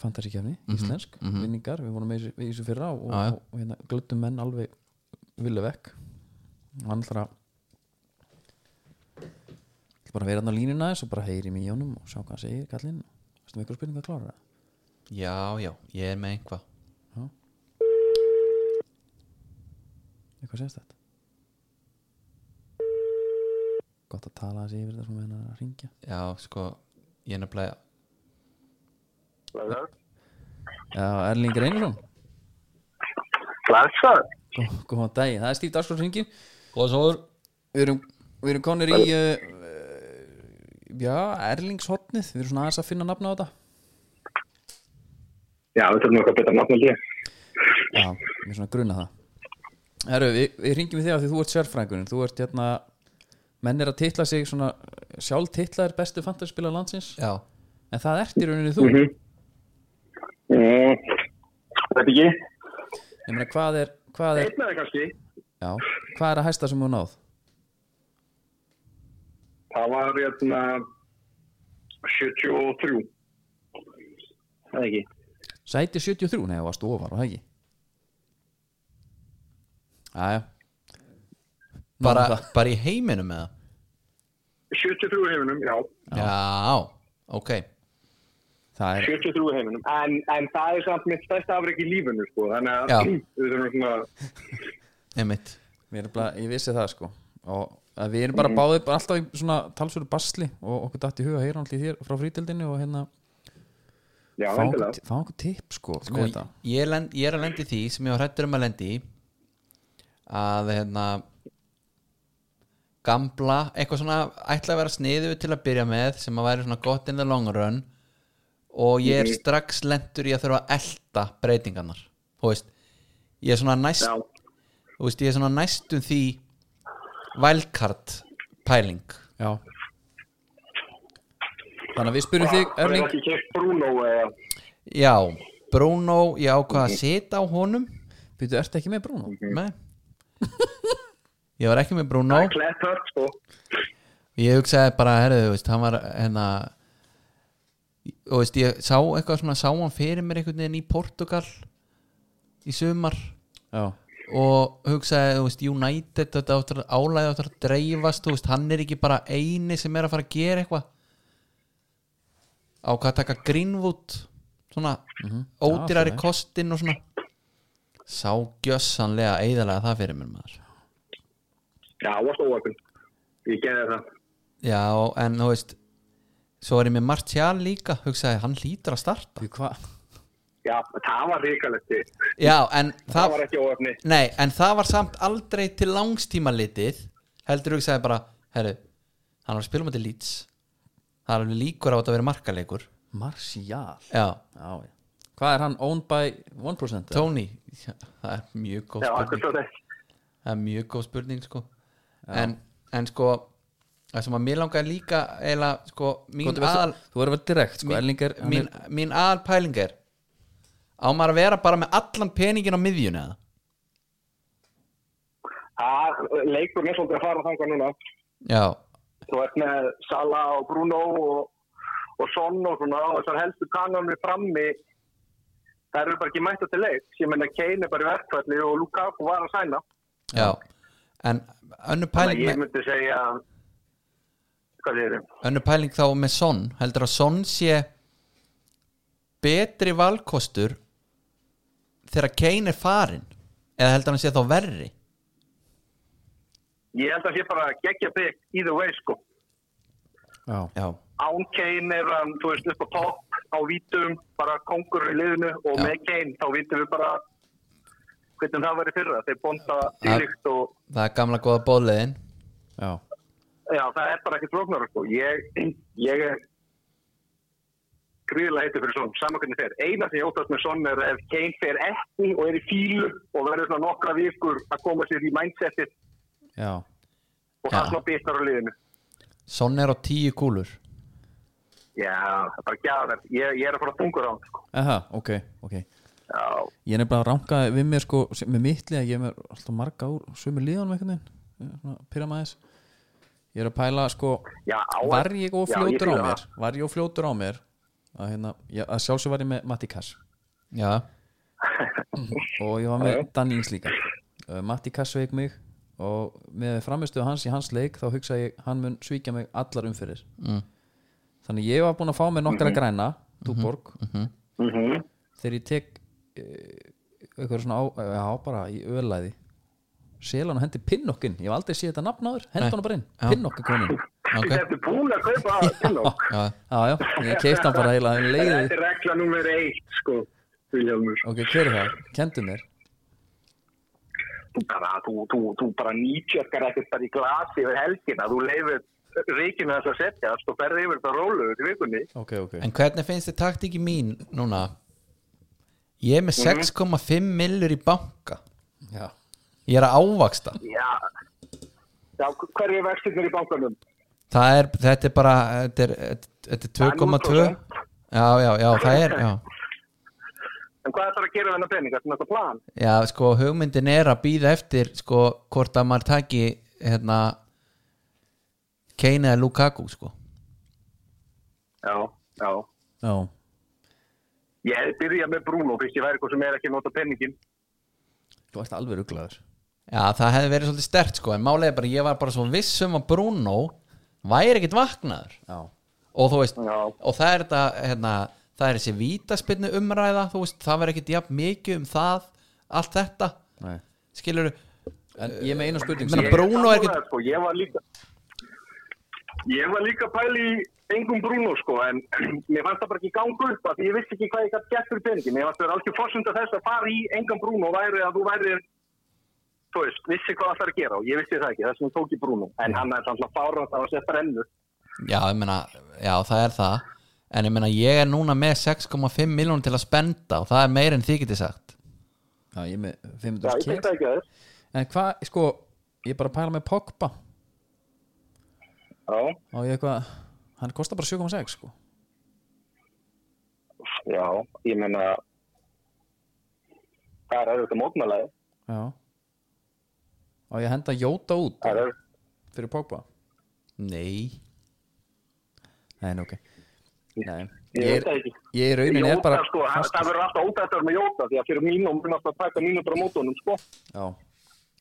A: fantasykefni,
B: Mhm,
A: íslensk,
B: mhm. Ah,
A: vinningar við vorum með í þessu- við í þessu fyrra og,
B: Já, já.
A: og, og hérna, glöttum menn alveg vilja vekk og hann ætlar að ætlar bara að vera hann á línuna þess og bara heyri mig í honum og sjá hvað hann segir kallinn veistu með eitthvað spurningu að klára það
B: Já, já, ég er með einhvað
A: eitthvað sést þetta gott að tala þessi yfir þetta svona með hann að ringja
B: Já, sko, ég er nefnilega
A: Já, Erling Reynarsson,
D: Blessað?
A: Gó- góðan dag það er Stíf Darskóls ringin
B: Góða svoður
A: við erum, við erum konir í uh, uh, já, Erlingshotnið við erum svona aðeins að finna nafna á þetta
D: Já, við þurfum eitthvað betra nafn, held ég.
A: já, við svona gruna það Herru, við, við ringjum við þig af því þú ert sérfrængurinn þú ert hérna menn er að titla sig svona sjálf titlaðir bestu fantaspila landsins
B: Já,
A: en það ert í rauninni þú
D: Mm, veit ekki.
A: ég meina hvað er, hvað er,
D: Einn eða kannski.
A: já, hvað er að hæsta sem hún náð
D: Það var hérna 73. Það ekki.
A: sæti 73, nei, það varst ofar og það ekki aðja
B: bara, bara í heiminum með það
D: 73 í heiminum, já.
B: Já, ok
A: það er
D: 73 í heiminum. En, en það er samt mitt stærsta afrek í lífinu, sko. Þannig að
B: Já.
D: við þurfum svona...
B: Einmitt
A: Mér er bara, ég vissi það sko og að við erum bara báðið bara alltaf í svona talsveru basli og okkur datt í huga að heyra allir þér frá frítildinni og hérna
D: Já,
A: fá
D: vendilega.
A: okkur, fá okkur tipp sko,
B: sko,
A: með þetta
B: ég, len, ég er að lendi því sem ég var hrættur um að lendi í, að hérna gamla, eitthvað svona ætla að vera sniðu til að byrja með sem að væri svona gott in the long run og ég er strax lendur í að þurfa að elta breytingarnar þú veist, ég er svona næst
D: Já.
B: þú veist, ég er svona næstum því wildcard pæling
A: Já Þannig að við spyrum þig,
D: Það er
A: Erling
D: ekki kemst Bruno eða...
B: já, Bruno, ég ákvað að sita á honum
A: Býtu, ertu ekki með Bruno?
B: Nei Ég var ekki með Bruno
D: Klett hört, sko.
B: Ég hugsaði bara, herðu, þú veist, hann var hérna og veist, ég sá eitthvað svona, sá hann fyrir mér einhvern veginn í Portugal í sumar
A: Já,
B: og hugsaði, þú veist, United þetta áttur að álæði áttur að dreifast þú veist, hann er ekki bara eini sem er að fara að gera eitthvað á hvað að taka Greenwood svona ódýrari
A: Já, fyrir.
B: kostinn og svona sá gjössanlega eðalega það fyrir mér maður
D: Já, varst óöpun. Ég gerði það.
B: Já, en þú veist Svo er ég með Martial líka Hugsaði, hann hlýtur að starta
A: því hvað?
D: Já, það var ríkalegt. Það,
B: Já, en
D: það
B: það,
D: var ekki óöfni.
B: nei, en það var samt aldrei til langstíma litið Heldur hugsaði bara, herru Hann var að spila um þetta lýts Það er alveg líkur á að þetta verið markaleikur
A: Martial
B: Já,
A: Já, já Hvað er hann owned by 1%? eða?
B: Tony já, Það er mjög góð
D: Já,
B: spurning
D: akkur svo þess.
B: Það er mjög góð spurning, sko en, en sko Það sem að mér langaði líka eila, sko, mín
A: Þú-
B: aðal
A: Þú verður verið direkt sko, Erling er, hann
B: mín,
A: er
B: mín aðal pæling er á maður að vera bara með allan peningin á miðjun eða
D: Það, leikurinn er svolítið að fara þangað núna.
B: já,
D: Þú ert með Sala og Bruno og og Son og svona og þessar helstu kanonir frammi það eru bara ekki mættu til leik ég menna Kane er bara í verkfalli og Lukaku var að sæna
B: já en önnu
D: þannig
B: pæling
D: að
B: með
D: ég myndi segja hvað er þið?
B: önnur pæling þá með Son heldur að Son sé betri valkostur þegar Kane er farin eða heldur hann sé þá verri
D: Ég held að sé bara geggja bygg either way sko
A: já,
B: já,
D: án Kane er hann, þú veist, upp á topp á vítum, bara kongur í liðinu og
B: Já.
D: með Kane þá vítum við bara hvernig það var í fyrra þeir bonda dýlikt og
B: það er gamla góða bóðleðin
A: já,
D: já, það er bara ekkert flóknar sko. ég, ég er gríðilega heitur fyrir svona, saman hvernig fer eina sem ég óttast með svona er ef Kane fer ekki og er í fílu og verður svona nokkra vikur að koma sér í mindsetið
A: já
D: og
B: Já.
D: það svona bitnar á liðinu
B: Son er á tíu kúlur
D: já, það er bara gæðar ég, ég er að fara tungur á hann sko.
A: Aha, ok, ok
D: já,
A: Ég er nefnilega að ranka við mér sko sem- með mittlega, ég er með alltaf marga úr sömu liðanum einhvern veginn pyrra maður þess Ég er að pæla sko
D: já, á,
A: var ég og
D: Já,
A: fljótur á
D: fíla það.
A: mér var ég og fljótur á mér að, hérna, ég, að sjálfsög var ég með Matti Kass
B: já,
A: og ég var með Dan Ings líka uh, Matti Kass veik mig og með framistuðu hans í hans leik þá hugsaði ég hann mun svíkja mig allar umfyrir mm. þannig ég var búin að fá mér nokkra
D: Mhm.
A: græna Túborg þegar ég tek uh, eitthvað svona á, já, bara í ölaði selan og hendi Pinnokkin ég hef aldrei séð þetta nafn áður, hendi hana bara inn
B: Já.
A: Pinnokkin komin
B: ok
D: Þetta er búin að kaupa Kinnock.
B: já,
A: já, já, ég keist hann bara heila um leiði
D: Þetta er regla nummer eitt, sko, Vilhelmur.
A: Ok, hver er það? Kendu mér
D: Þú bara, þú, þú, þú bara nýtjökkar ekkert bara í glasi yfir helgina. Þú leifir reikinu þess að setja, sko, ferði yfir þetta rólu til vikunni.
A: Ok, ok
B: En hvernig finnst þið taktíki mín núna? Ég er með 6,5 millur í banka
A: Já,
B: Ég er að ávaxta
D: Já, já hverju er vextirnir í bankanum?
B: Það er, þetta er bara Þetta er, þetta er 2,2
D: Það er 0%.
B: Já, já, já, það er já.
D: En hvað þarf að gera við hennar peninga? Þetta er þetta plan.
B: já, sko, hugmyndin er að býða eftir sko, hvort að maður taki hérna Kane eða Lukaku, sko
D: Já, já.
A: já,
D: Ég hefði byrjað með Bruno, fyrst ég væri eitthvað sem er ekki að nota peningin.
A: þú ert alveg rugglaður
B: Já, það hefði verið svolítið stert, sko En málega bara, ég var bara svo viss um að Bruno væri ekkit vaknaður
A: Já,
B: og þú veist,
D: Já.
B: og það er þetta hérna, það er þessi vítaspinnu umræða þú veist, það verður ekkit jafn mikið um það allt þetta,
A: nei
B: skilur
A: En ég er með eina spurning
B: Ég meina,
A: sem-
D: Ég
B: Bruno er
D: sammála
B: ekkert-
D: þér, sko, ég var líka ég var líka pæli í engum Bruno sko en mér fannst það bara ekki gangu upp af því ég vissi ekki hvað ég gætt gert fyrir peningin mér fannst það alveg fórsunda þess að fara í engum Bruno væri að þú væri þú veist, vissi hvað það er að gera og ég vissi það ekki þess vegna tók ég Bruno en hann er samt að fára það að setja rennu
B: já, ég meina, já, það er það en ég meina, ég er núna með 6,5 miljónum til að spenda og það er meir en þið getið sagt
A: Já, ég er með
D: já,
A: 500
D: ég finnst
A: kér
D: það ekki að þess
A: En hvað, sko, ég er bara að pæla með Pogba
D: já,
A: Og ég eitthvað, hann kostar bara 7,6 sko
D: já, ég menna það er auðvitað mótmælaði
A: Já Og ég að henda Jóta út
D: það er auðvitað
A: fyrir Pogba
B: nei,
A: Nei, nei, ok Nei,
D: Ég
A: ég
D: veit það
A: er,
D: ekki.
A: ég er raunin er
D: Jóta
A: bara
D: sko, það það verður alltaf ódættar með Jóta því að fyrir mínum mun alltaf að taka mínútur á mótunum sko.
A: Já,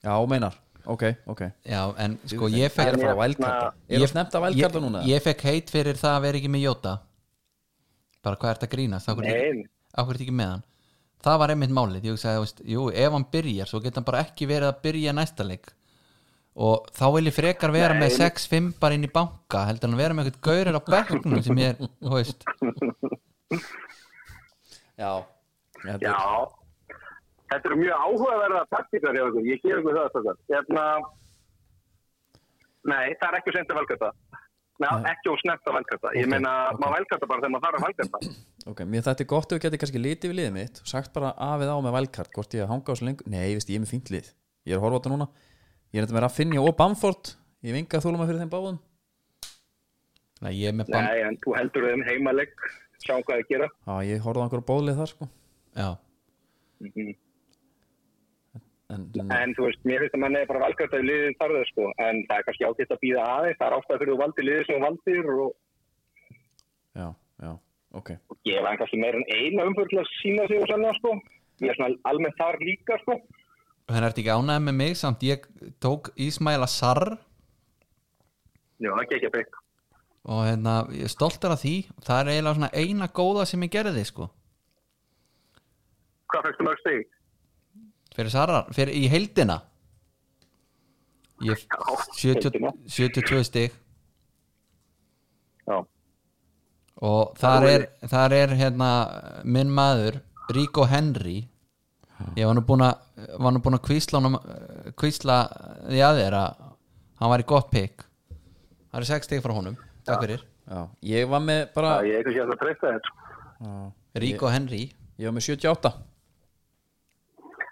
A: já, meinar Ok, ok
B: já, en sko ég
A: Ég
B: fekk
A: er að fara að vælkarta Ég er að snemta að vælkarta núna
B: ég, ég fekk heit fyrir það að vera ekki með Jóta bara hvað ert að grínast Af hverju-
D: Nei,
B: af hverju ertu ekki með hann það var einmitt málið, ég hugsaði, þú veist, jú, ef hann byrjar svo geta hann bara ekki verið að byrja næsta leik og þá vil ég frekar vera með 6-5 bara inn í banka heldur hann að vera með eitthvað gaurur á bekknum sem ég er, þú veist
A: Já, þetta
D: já
A: er-
D: Þetta eru mjög áhugaverða taktikar hjá ykkur, ég gef ykkur það þessar Efna Nei, það er ekki sent að velkvæta Nei, ekki og snemmt að velkvæta Ég
A: Ok,
D: meina,
A: ok.
D: maður velkvæta bara þegar maður þarf að velkvæta
A: Ok, mér þetta er gott ef við getum kannski litið við liðið mitt og sagt bara af eða á með valkart hvort ég hanga á svo lengur, nei, ég veist, ég er með fínt lið ég er að horfa á þetta núna, ég er þetta með Raffinja og Bamford, ég vinga þólum að fyrir þeim báðum
B: Nei, ég er með banka
D: Nei, en þú heldur þeim heimaleg Sjáum hvað þið gera
A: Já, ég horfði á einhverju bóðlið þar, sko
B: já,
A: en, en,
D: En þú veist, mér finnst að mann er bara velkvæta í liðin þar þess sko En það er kannski ágætt að býða aðeins Það er ástæð fyrir þú valdi liðið sem þú valdir og
A: já, já, ok
D: og gefa hann kannski meira en eina umfyrir til að sína sig og sanna sko ég er svona almennt þar líka sko
B: Þannig ertu ekki ánægð með mig samt ég tók Ísmæla Sarr
D: já, það gekk ég beint
B: og hérna, ég er stoltar af því það er eiginlega svona eina góða sem ég gerði sko
D: hvað fækstu mörg stegi?
B: fyrir Sarrar, fyrir í heildina ég
D: Já,
B: 70,
D: heildina.
B: 72 stig
D: já,
B: og þar er, þar er hérna minn maður, Rico Henry ég var nú búin að var nú búin að kvísla honum, eh, kvísla því að þér að hann var í gott pick það eru 6 stig frá honum, takk fyrir
A: já, ég var með bara
D: ég er kannski að það treysta þetta sko.
A: já,
B: Rico Henry
A: ég var með 78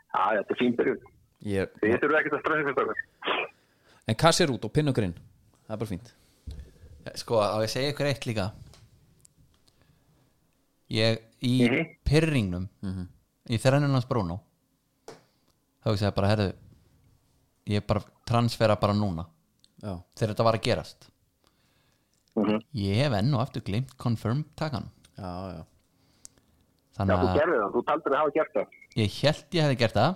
D: já, þetta er fín byrjun
A: ég,
D: þið þurfum ekkert að stressa ykkur stakar
A: en kassi er út og pinnugurinn það er bara fínt
B: sko á ég segja ykkur eitt líka ég í
D: Mhm.
B: pyrringnum í þrennun hans Bruno þá ekki segja bara herðu ég bara transfera bara núna
A: já,
B: þegar þetta var að gerast
D: Mhm.
B: ég hef enn og aftur glimt confirm takan
A: já, já,
D: já,
B: þannig
D: þú
B: að
D: gerði það, þú taldur að hafa gert það
B: ég held ég hefði gert það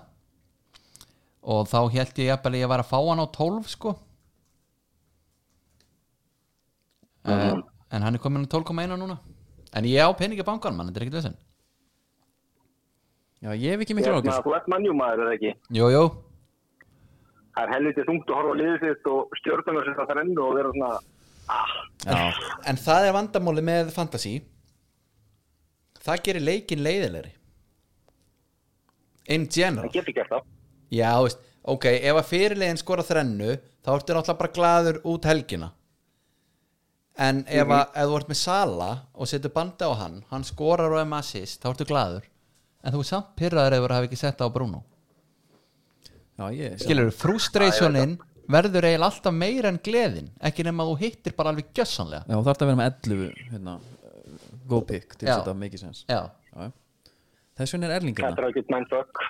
B: og þá held ég jafnvel að ég var að fá hann á 12 sko
D: Mhm.
B: en, Eh, en hann er komin á 12,1 núna en ég á peningi bankan mann, þetta er ekkert veginn
A: já, ég hef ekki miklu
D: Hérna,
A: ákjör
D: þú ert mannjúmaður eða ekki
B: Jú, jú,
D: það er helviti þungt að horfa á liðið þitt og stjórnarnar sem það þrennu og vera svona
A: já,
B: en það er vandamáli með fantasy það gerir leikin leiðilegri in general
D: það getur gert það
B: Já, veist, ok, ef að fyrirlegin skora þrennu þá ertu náttúrulega bara glaður út helgina en ef, að, ef þú ert með Sala og setur bandi á hann, hann skorar og er með assist, þá ertu glaður en þú er samt pyrraður ef þú hafi ekki sett það á Bruno
A: já, ég
B: skilur, frustrationin verður eiginlega alltaf meira en gleðin ekki nema þú hittir bara alveg gjössanlega
A: já, þú þarf að vera með 11 hérna, go pick til
B: Já.
A: þess að þetta mikið sens
B: Já,
A: Já, já. þess vegna er erlingarna
D: þetta er ekki mindfuck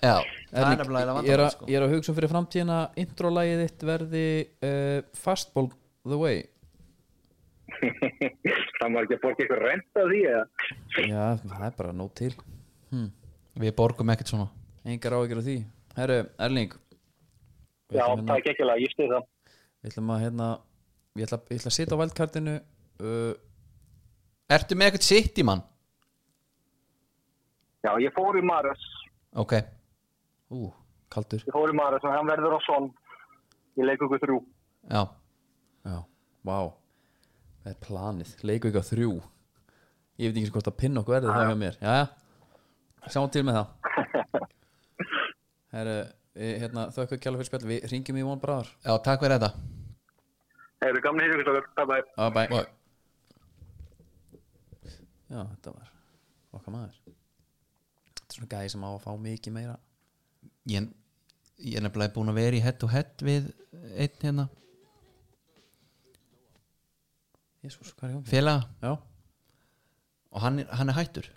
B: já, það er
A: Erling,
B: nefnilega eiginlega
A: ég, er
B: vandamál
A: að,
B: sko.
A: ég er að hugsa um fyrir framtíðina introlagið þitt verði uh, fastball the way
D: það var ekki að borga ykkur rent að því eða
A: já, það er bara nóg til
B: Við borgum ekkert svona
A: engar áhyggjur af því herru, Erling
D: já,
A: ætlum
D: það
A: hérna-
D: er ekki ekki að ég stið það
A: við ætlum að hérna ég ætla, ég ætla að sitja á valdkartinu uh,
B: Ertu með ekkert sitt í mann?
D: já, ég fór í Maras
B: Ok,
A: ú, kaldur
D: ég fór í Maras og hann verður á son ég leik ykkur þrjú
B: já
A: já, vá það er planið, leiku ykkur þrjú ég veit ekki eins og hvort að pinna okkur verði það hjá mér já, já, sjáum til með það herru, við, hérna, þökkum kjalla fyrir spjall við ringjum í von bráðar
B: Já, takk fyrir þetta
D: Eru gamli hér ykkur stakar, bye bye
A: ah, bye. Já, þetta var okkar maður Þetta er svona gæði sem á að fá mikið meira
B: ég, ég er nefnilega búin að vera í hett og hett við einn hérna
A: Jésús, hvað er hjá mér?
B: félaga
A: Já,
B: og hann er, hann er hættur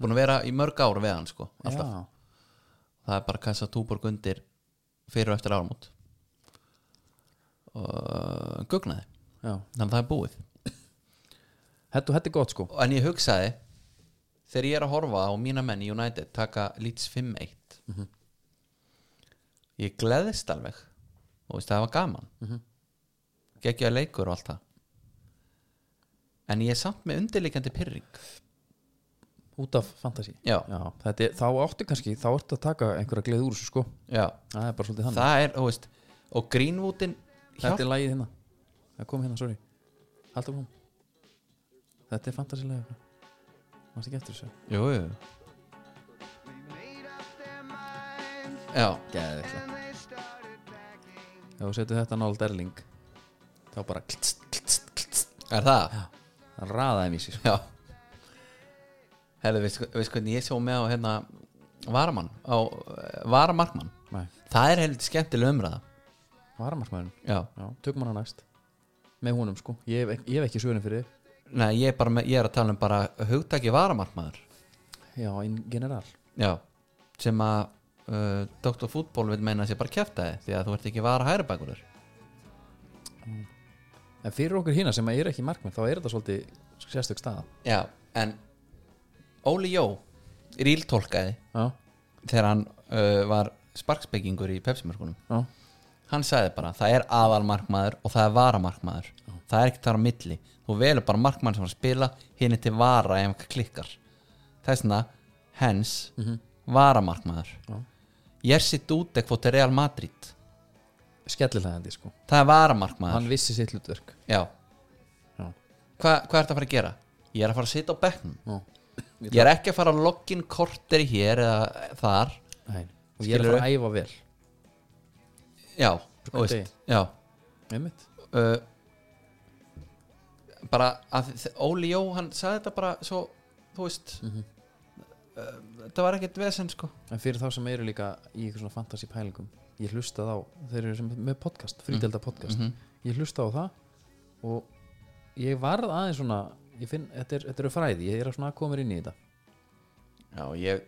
B: búin að vera í mörg ár við hann sko alltaf,
A: já,
B: það er bara kassa túborg undir fyrir og eftir áramót og gugnaði
A: já
B: þannig að það er búið
A: Þetta, þetta er gott sko
B: en ég hugsaði þegar ég er að horfa á mína menn í United taka Leeds 5-1
A: Mhm.
B: ég gleðist alveg og veist það var gaman mm
A: Mhm.
B: -hmm. geggjaði leikur og allt það en ég er samt með undirleikandi pyrring
A: Út af fantasi
B: Já.
A: þetta er, Þá áttu kannski, þá ertu að taka einhverja gleði úr þessu sko
B: já,
A: Það er bara svolítið þannig
B: það er, þú veist og Greenwoodin
A: Þetta
B: hjálp,
A: er lagið hérna Það kom hérna, sorry Haldur kom Þetta er fantasilega Mást ekki eftir þessu
B: jú, jú já,
A: Gæði Ef þú setur þetta nált Erling Þá bara kltst, kltst, kltst
B: er það
A: Það raðaði mér sko. sér
B: já herðu, veist, veist hvernig ég svo með á hérna, varamann á eh, varamarkmann
A: Nei,
B: það er heldur skemmtileg umræða
A: varamarkmaðurinn
B: já,
A: Já, tökum hana næst Með honum sko, ég hef, ég hef ekki svörin fyrir þér.
B: Nei, ég, er bara með, ég er að tala um bara hugtaki varamarkmaður
A: Já, in general
B: Já, sem að uh, Dr. Fútból vil meina að sé bara kjæfta þið því að þú ert ekki vara hæra bakurur
A: En fyrir okkur hína sem er ekki markmenn Þá er þetta svolítið sérstök staða
B: Já, en Óli Jó ríltólkaði
A: já,
B: þegar hann uh, var sparkspekingur í pepsimörkunum
A: já,
B: hann sagði bara, það er aðalmarkmaður og það er varamarkmaður það er ekkert þar á milli, þú velur bara markmaður sem var að spila, hinn er til vara ef hann klikkar, þess vegna hens,
A: Mhm.
B: varamarkmaður Jersi Dudek fór til Real Madrid
A: skellilegandi sko
B: það er varamarkmaður
A: hann vissi sitt hlutverk
B: já,
A: Já.
B: Hva, hvað ertu að fara að gera? ég er að fara að sitja á bekknum
A: Já.
B: ég er ekki að fara að loggin korteri hér eða þar
A: Nei. og ég er að
B: Skilurðu?
A: fara að æfa vel
B: já,
A: Frá
B: þú
A: degi.
B: veist, já
A: einmitt
B: uh, bara að þ- Óli Jó hann sagði þetta bara svo þú veist mm uh, þetta var ekkert vesen sko
A: En fyrir þá sem eru líka í eitthvað svona fantasy pælingum Ég hlusta þá, þeir eru sem með podcast Frítelda podcast, ég hlusta á það Og ég varð aðeins svona Ég finn, þetta er- þetta eru fræði Ég er að svona að koma mér inn í þetta
B: já ég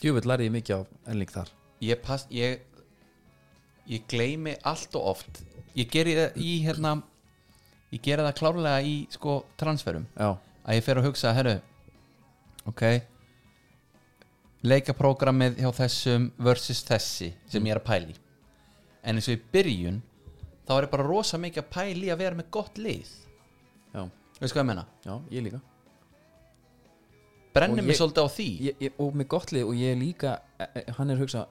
A: Djúvill lærði ég mikið á enling þar
B: ég pass ég, ég gleymi allt og oft ég geri það í hérna ég geri það klárlega í sko transferum
A: Já,
B: að ég fer að hugsa herru ok leikaprógrammið hjá þessum versus þessi
A: Mm.
B: sem ég er að pæli en eins og í byrjun þá er ég bara rosa mikið að pæli að vera með gott lið
A: já,
B: veist hvað ég menna
A: já, ég líka Og
B: brennir mig
A: ég-
B: svolítið á því
A: ég, ég, Og með gott lið og ég er líka e- e- Hann er að hugsa,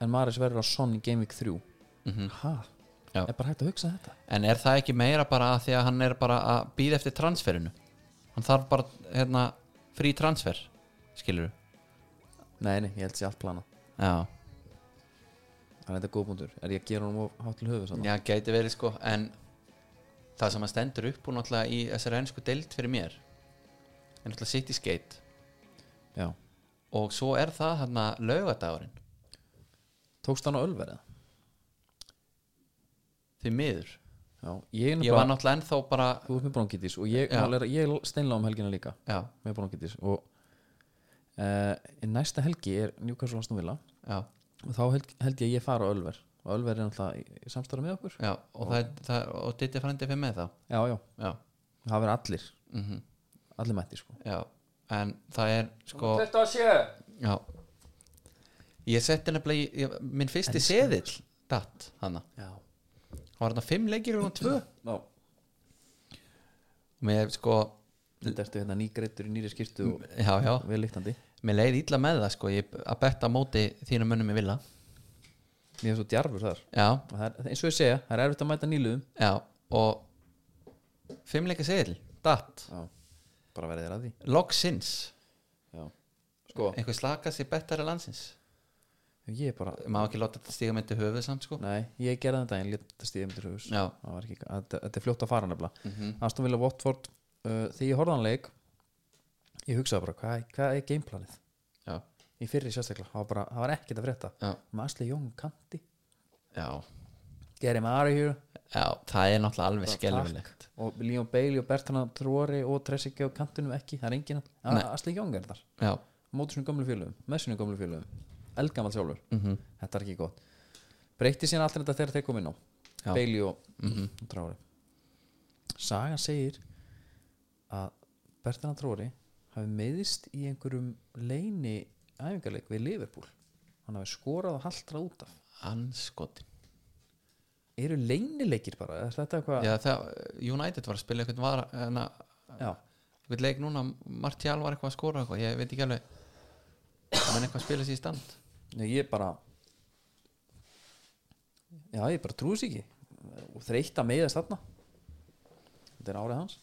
A: en Maris verður á Son í Game Week 3 mm -hmm. Ha,
B: Já.
A: er bara hægt að hugsa þetta
B: en er það ekki meira bara að því að hann er bara að býða eftir transferinu hann þarf bara hérna frí transfer skilur
A: Nei, nei, ég held sér allt plana
B: já
A: Þannig að þetta er góðbúndur, er ég að gera honum of hátt til höfu
B: Já, gæti verið sko En það sem að stendur upp úr náttúrulega í þessari ennsku deild fyrir mér er náttúrulega City Skate
A: Já,
B: og svo er það hérna laugadagurinn
A: tókst hann á ölverið
B: því miður
A: Já, ég, er
B: Ég var
A: nefnilega-
B: náttúrulega ennþá bara
A: þú ert með bronkitis og ég,
B: Já.
A: er, ég steinla um helgina líka
B: Já,
A: með bronkitis og uh, næsta helgi er Newcastle Aston Villa
B: já,
A: og þá held, held ég að ég fara á Ölver og Ölver er náttúrulega í, í samstarf með okkur
B: já og, það, það, og Ditti frændi fyrir með þá
A: já, já,
B: Já,
A: það verður allir
B: mm
A: Mhm. allir mættir sko
B: já En það er sko
E: 27
B: Já Ég setti nefnilega í- ég, minn fyrsti seðill datt hana
A: já,
B: Það var þarna fimm leikir og tvö
A: já.
B: Mér sko
A: þetta ertu hérna nýgreittur í nýri skýrtu og
B: Já, já
A: vel líktandi
B: Mér leiði illa með það sko ég, að betta á móti þínum mönnum í villa
A: mér er svo djarfur þar
B: já,
A: og það er, eins og ég segja, það er erfitt að mæta nýluðum
B: já og fimmleika segil, datt
A: já, bara verið þér að því
B: loksins,
A: já. sko,
B: einhver slakast í bettari landsins
A: ég er bara
B: má ekki láta þetta stíga myndi höfuð samt sko
A: Nei, ég gerði um þetta en létt stíðum til hús
B: Já.
A: Það var ekki- Þetta þetta er fljótt að fara nefnilega
B: Mhm.
A: Aston Villa Watford uh, Þegar ég horfði á hann leik Ég hugsaði bara, hvað, hvað er gameplanið?
B: já,
A: Í fyrri sérstaklega, það var, bara, það var ekkert að frétta
B: já,
A: Með Asli Jón kanti
B: já,
A: Gary Mara hér
B: já það er náttúrulega alveg skelfilegt
A: Og Leon Bailey og Bertrand Trori og Tressiki á kantinum ekki Það er enginn að
B: Nei.
A: Asli Jón er þar
B: já,
A: Mótur sinni gömlu félögum, með sinni gömlu félögum Elgamal sjálfur, þetta er ekki gott Breytti síðan allir þetta þegar þeir kom inn á
B: Já.
A: Bailey og og Traore Sagan segir að Bertrand Traore hafi meðist í einhverjum leini æfingarleik við Liverpool hann hafi skorað og haldrað út af
B: anskoti
A: eru leinileikir bara, er þetta eitthvað
B: já, það, United var að spila eitthvað var, en að,
A: Já.
B: eitthvað leik núna Martial var eitthvað að skora eitthvað, ég veit ekki alveg menn eitthvað að spila sér í stand
A: Nei, ég bara já, ég bara trúi sér ekki og þreytt að meiðast þarna þetta er árið hans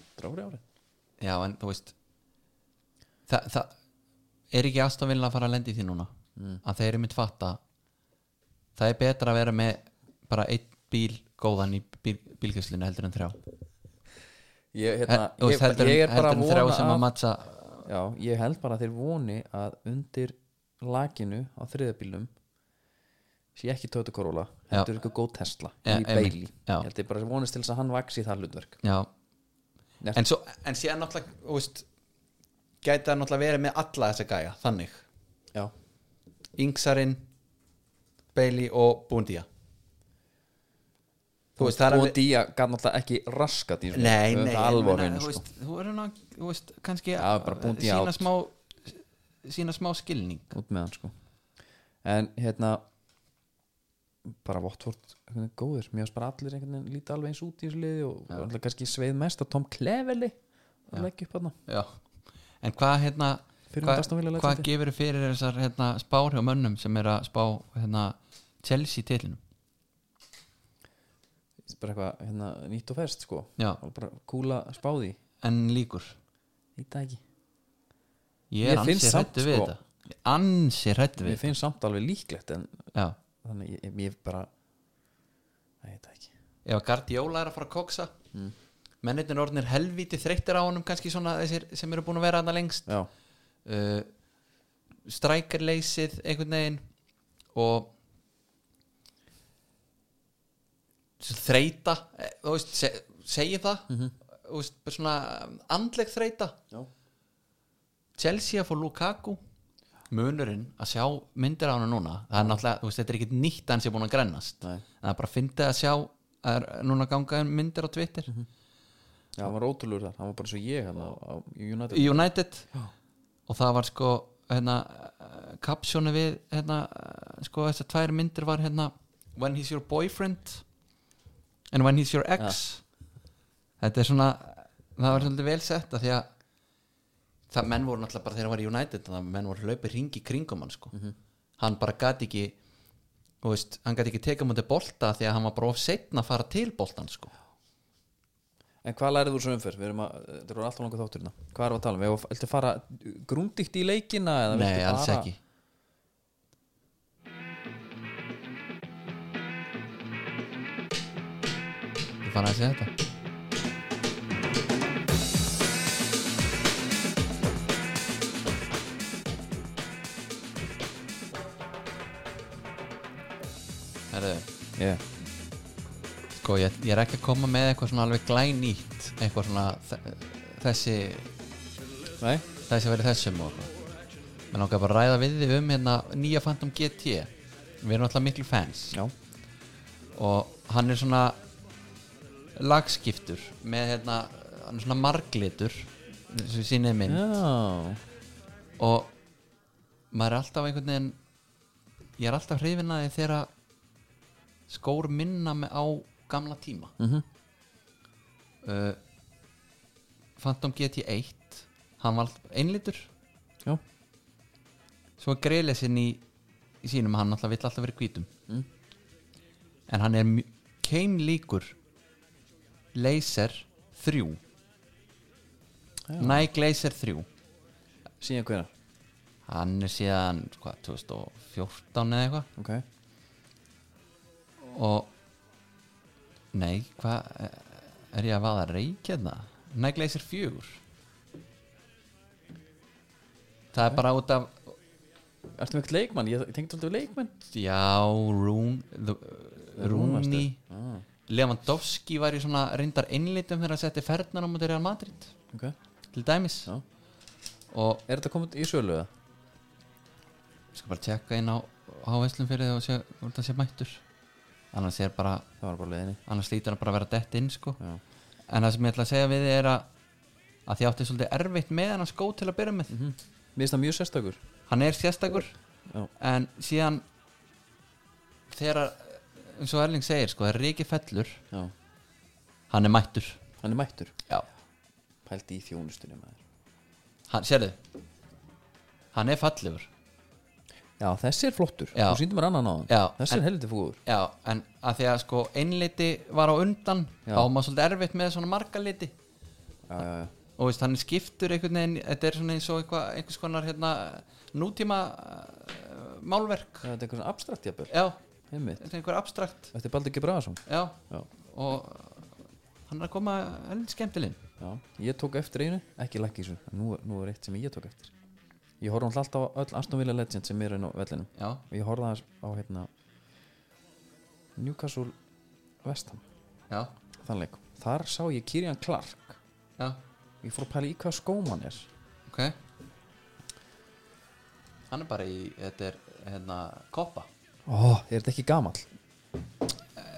A: þetta er árið árið
B: Já, en þú veist það, það er ekki aðstofilin að fara að lendi því núna
A: Mm.
B: að þeir eru mitt fatta það er betra að vera með bara einn bíl góðan í bíl, bílgjöfslinu heldur en þrjá
A: ég,
B: Hel,
A: hérna,
B: þú
A: ég,
B: veist, heldur,
A: ég
B: en,
A: er bara
B: heldur
A: að
B: en þrjá
A: vona
B: sem að
A: að
B: matcha
A: já, ég held bara að þeir voni að undir lakinu á þriðabílum sé ekki Toyota Corolla
B: Já.
A: heldur ykkur góð Tesla
B: Já,
A: í
B: einmitt.
A: Bailey
B: Já.
A: ég held ég bara að vonist til þess að hann vaks í það hlutverk
B: já.
A: Nert.
B: en, svo, en síðan náttúrulega þú veist, gæti það náttúrulega verið með alla þessa gæja þannig,
A: já,
B: Yngsarinn Bailey og Búndía
A: Þú veist,
B: það er
A: og
B: alveg-
A: Día gaf náttúrulega ekki raskat í svona.
B: Nei,
A: Það
B: nei,
A: er
B: en
A: alvorinu,
B: meina, þú
A: sko.
B: veist, Þú verður nú að, þú veist, kannski
A: Já, bara búndi í
B: sína
A: átt.
B: smá sína smá skilning
A: út með hann sko en hérna bara Watford einhvern veginn góðir mér finnst bara allir einhvern veginn líta alveg eins út í þessu liði og alltaf kannski sveið mest að Tom Cleverley að leggja upp hann
B: Já En hvað hérna
A: Fyrir
B: hvað,
A: um Aston Villa
B: hvað
A: leiksendi.
B: gefur fyrir þessar hérna, spár hjá mönnum sem er að spá hérna, Chelsea tilinum
A: bara eitthvað hérna nýtt og fest sko
B: Já.
A: og bara kúla spáði
B: en líkur
A: í dag ekki
B: Ég er
A: Mér finnst
B: ansi
A: samt,
B: hrættu við
A: sko.
B: þetta Ég er Ansi hrættu
A: mér
B: við
A: finnst samt alveg líklegt en
B: þetta Já
A: þannig ég, ég bara Æ, ég veit það ekki
B: Ef að Guardiola er að fara að koksa mm. mennirnir orðnir helvíti þreyttir á honum kannski svona þessir sem eru búin að vera hana lengst
A: já
B: uh, strækarleysið einhvern veginn og svo þreyta eh, þú veist, se, segi það mm veist, bara svona um, andleg þreyta
A: Já.
B: Chelsea að fá Lukaku munurinn að sjá myndir á hana núna það er náttúrulega, þú veist, þetta er ekkit nýtt að hann sé búin að grennast
A: Nei.
B: það er bara að fyndi að sjá að er, núna ganga myndir á Twitter
A: já hann var ótrúlegur þar hann var bara svo ég hann á, á United
B: í United og það var sko hérna eh, kapsjónu við hérna eh, sko þessar tvær myndir var hérna when he's your boyfriend and when he's your ex þetta er svona það var svolítið vel sett að því að það menn voru náttúrulega bara þegar hann var í United það menn voru hlaupið ringi kringum hann sko hann bara gati ekki þú veist, hann gati ekki tekið mútið bolta því að hann var bara of setna að fara til boltan sko
A: En hvað lærið þú svo umfyrr? Við erum að, þetta eru alltaf langar þátturina Hvað erum við að tala um? Við erum að fara grúndíkt í leikina eða viltu
B: Nei, alls
A: bara-
B: ekki Ég fann að segja þetta Herðu,
A: yeah.
B: sko ég, ég er ekki að koma með eitthvað svona alveg glænýtt eitthvað svona þ- þessi
A: Nei?
B: þessi verið þessum og eitthvað Mér langar bara að ræða við þig um hérna nýja Phantom GT Við erum alltaf miklu fans
A: Já
B: og hann er svona lagskiptur með hérna, hann er svona marglitur sem sínið minn
A: Já
B: og maður er alltaf einhvern veginn ég er alltaf hrifin að því þegar að skór minna mig á gamla tíma mm
A: Mhm.
B: -hmm. uh, Phantom GT1 hann var alltaf einlítur
A: Já
B: svo er greiðlesin í, í sínum hann alltaf vill alltaf verið hvítum en hann er mj- keimlíkur laser 3 Nike laser 3
A: Síðan hverja
B: hann er síðan hvað, 2014 eða eitthvað
A: Ok
B: og nei, hvað eh, er ég að vaða reik hérna? Nike laser 4 það er bara út af
A: Ertu með eitthvað leikmann? Ég tengdi alltaf leikmann
B: Já, Rún the, Rúni
A: Ah.
B: Lewandowski var í svona reyndar einlítum þegar hann setti ferðnar á mútið Real Madrid
A: Ok
B: til dæmis
A: Já.
B: og
A: Er þetta komið í sölu eða?
B: ég skal bara tjekka inn á háveslum fyrir þig og sé hvort það sé mættur annars er bara
A: Það var bara á leiðinni
B: annars lítur hann bara að vera dett inn sko
A: Já.
B: en það sem ég ætla að segja við þig er að að því átti svolítið erfitt með hann að skó til að byrja með
A: Mér finnst það mjög sérstakur
B: hann er sérstakur
A: Mhm. Já.
B: en síðan þegar að- eins og Erling segir sko, það er reiki fellur
A: Já
B: hann er mættur
A: Hann er mættur
B: já.
A: Pældi í þjónustunni maður
B: hann, sérðu hann er fallegur
A: Já, þessi er flottur
B: Já.
A: Þú síndi mér annan á hann
B: Já.
A: Þessi er heldur fúður
B: já, en að því að sko einliti var á undan
A: Já.
B: þá var maður svolítið erfitt með svona margaliti
A: Já, já, já
B: og veist, hann er skiptur einhvern veginn þetta er svona eins og eitthva, einhvers konar hérna, nútíma uh, málverk
A: Já, Þetta er eitthvað svona abstrakt jafnvel
B: já,
A: Einmitt
B: þetta er einhver abstrakt
A: Þetta er Baldur Gebraðarsson
B: já,
A: Já.
B: og uh, hann er að koma heldur skemmtileginn
A: Já, ég tók eftir einu, ekki lakkísu nú, nú er eitt sem ég tók eftir Ég horfði náttúrulega alltaf á öll Aston Villa Legend sem eru inn á vellinum
B: já,
A: og ég horfði aðeins á hérna Newcastle Vestham,
B: já,
A: þann leik Þar sá ég Kirian Clark
B: já,
A: Ég fór að pæla í hvað skóm hann er
B: ok hann er bara í þetta er hérna koppa
A: Ó, er þetta ekki gamall?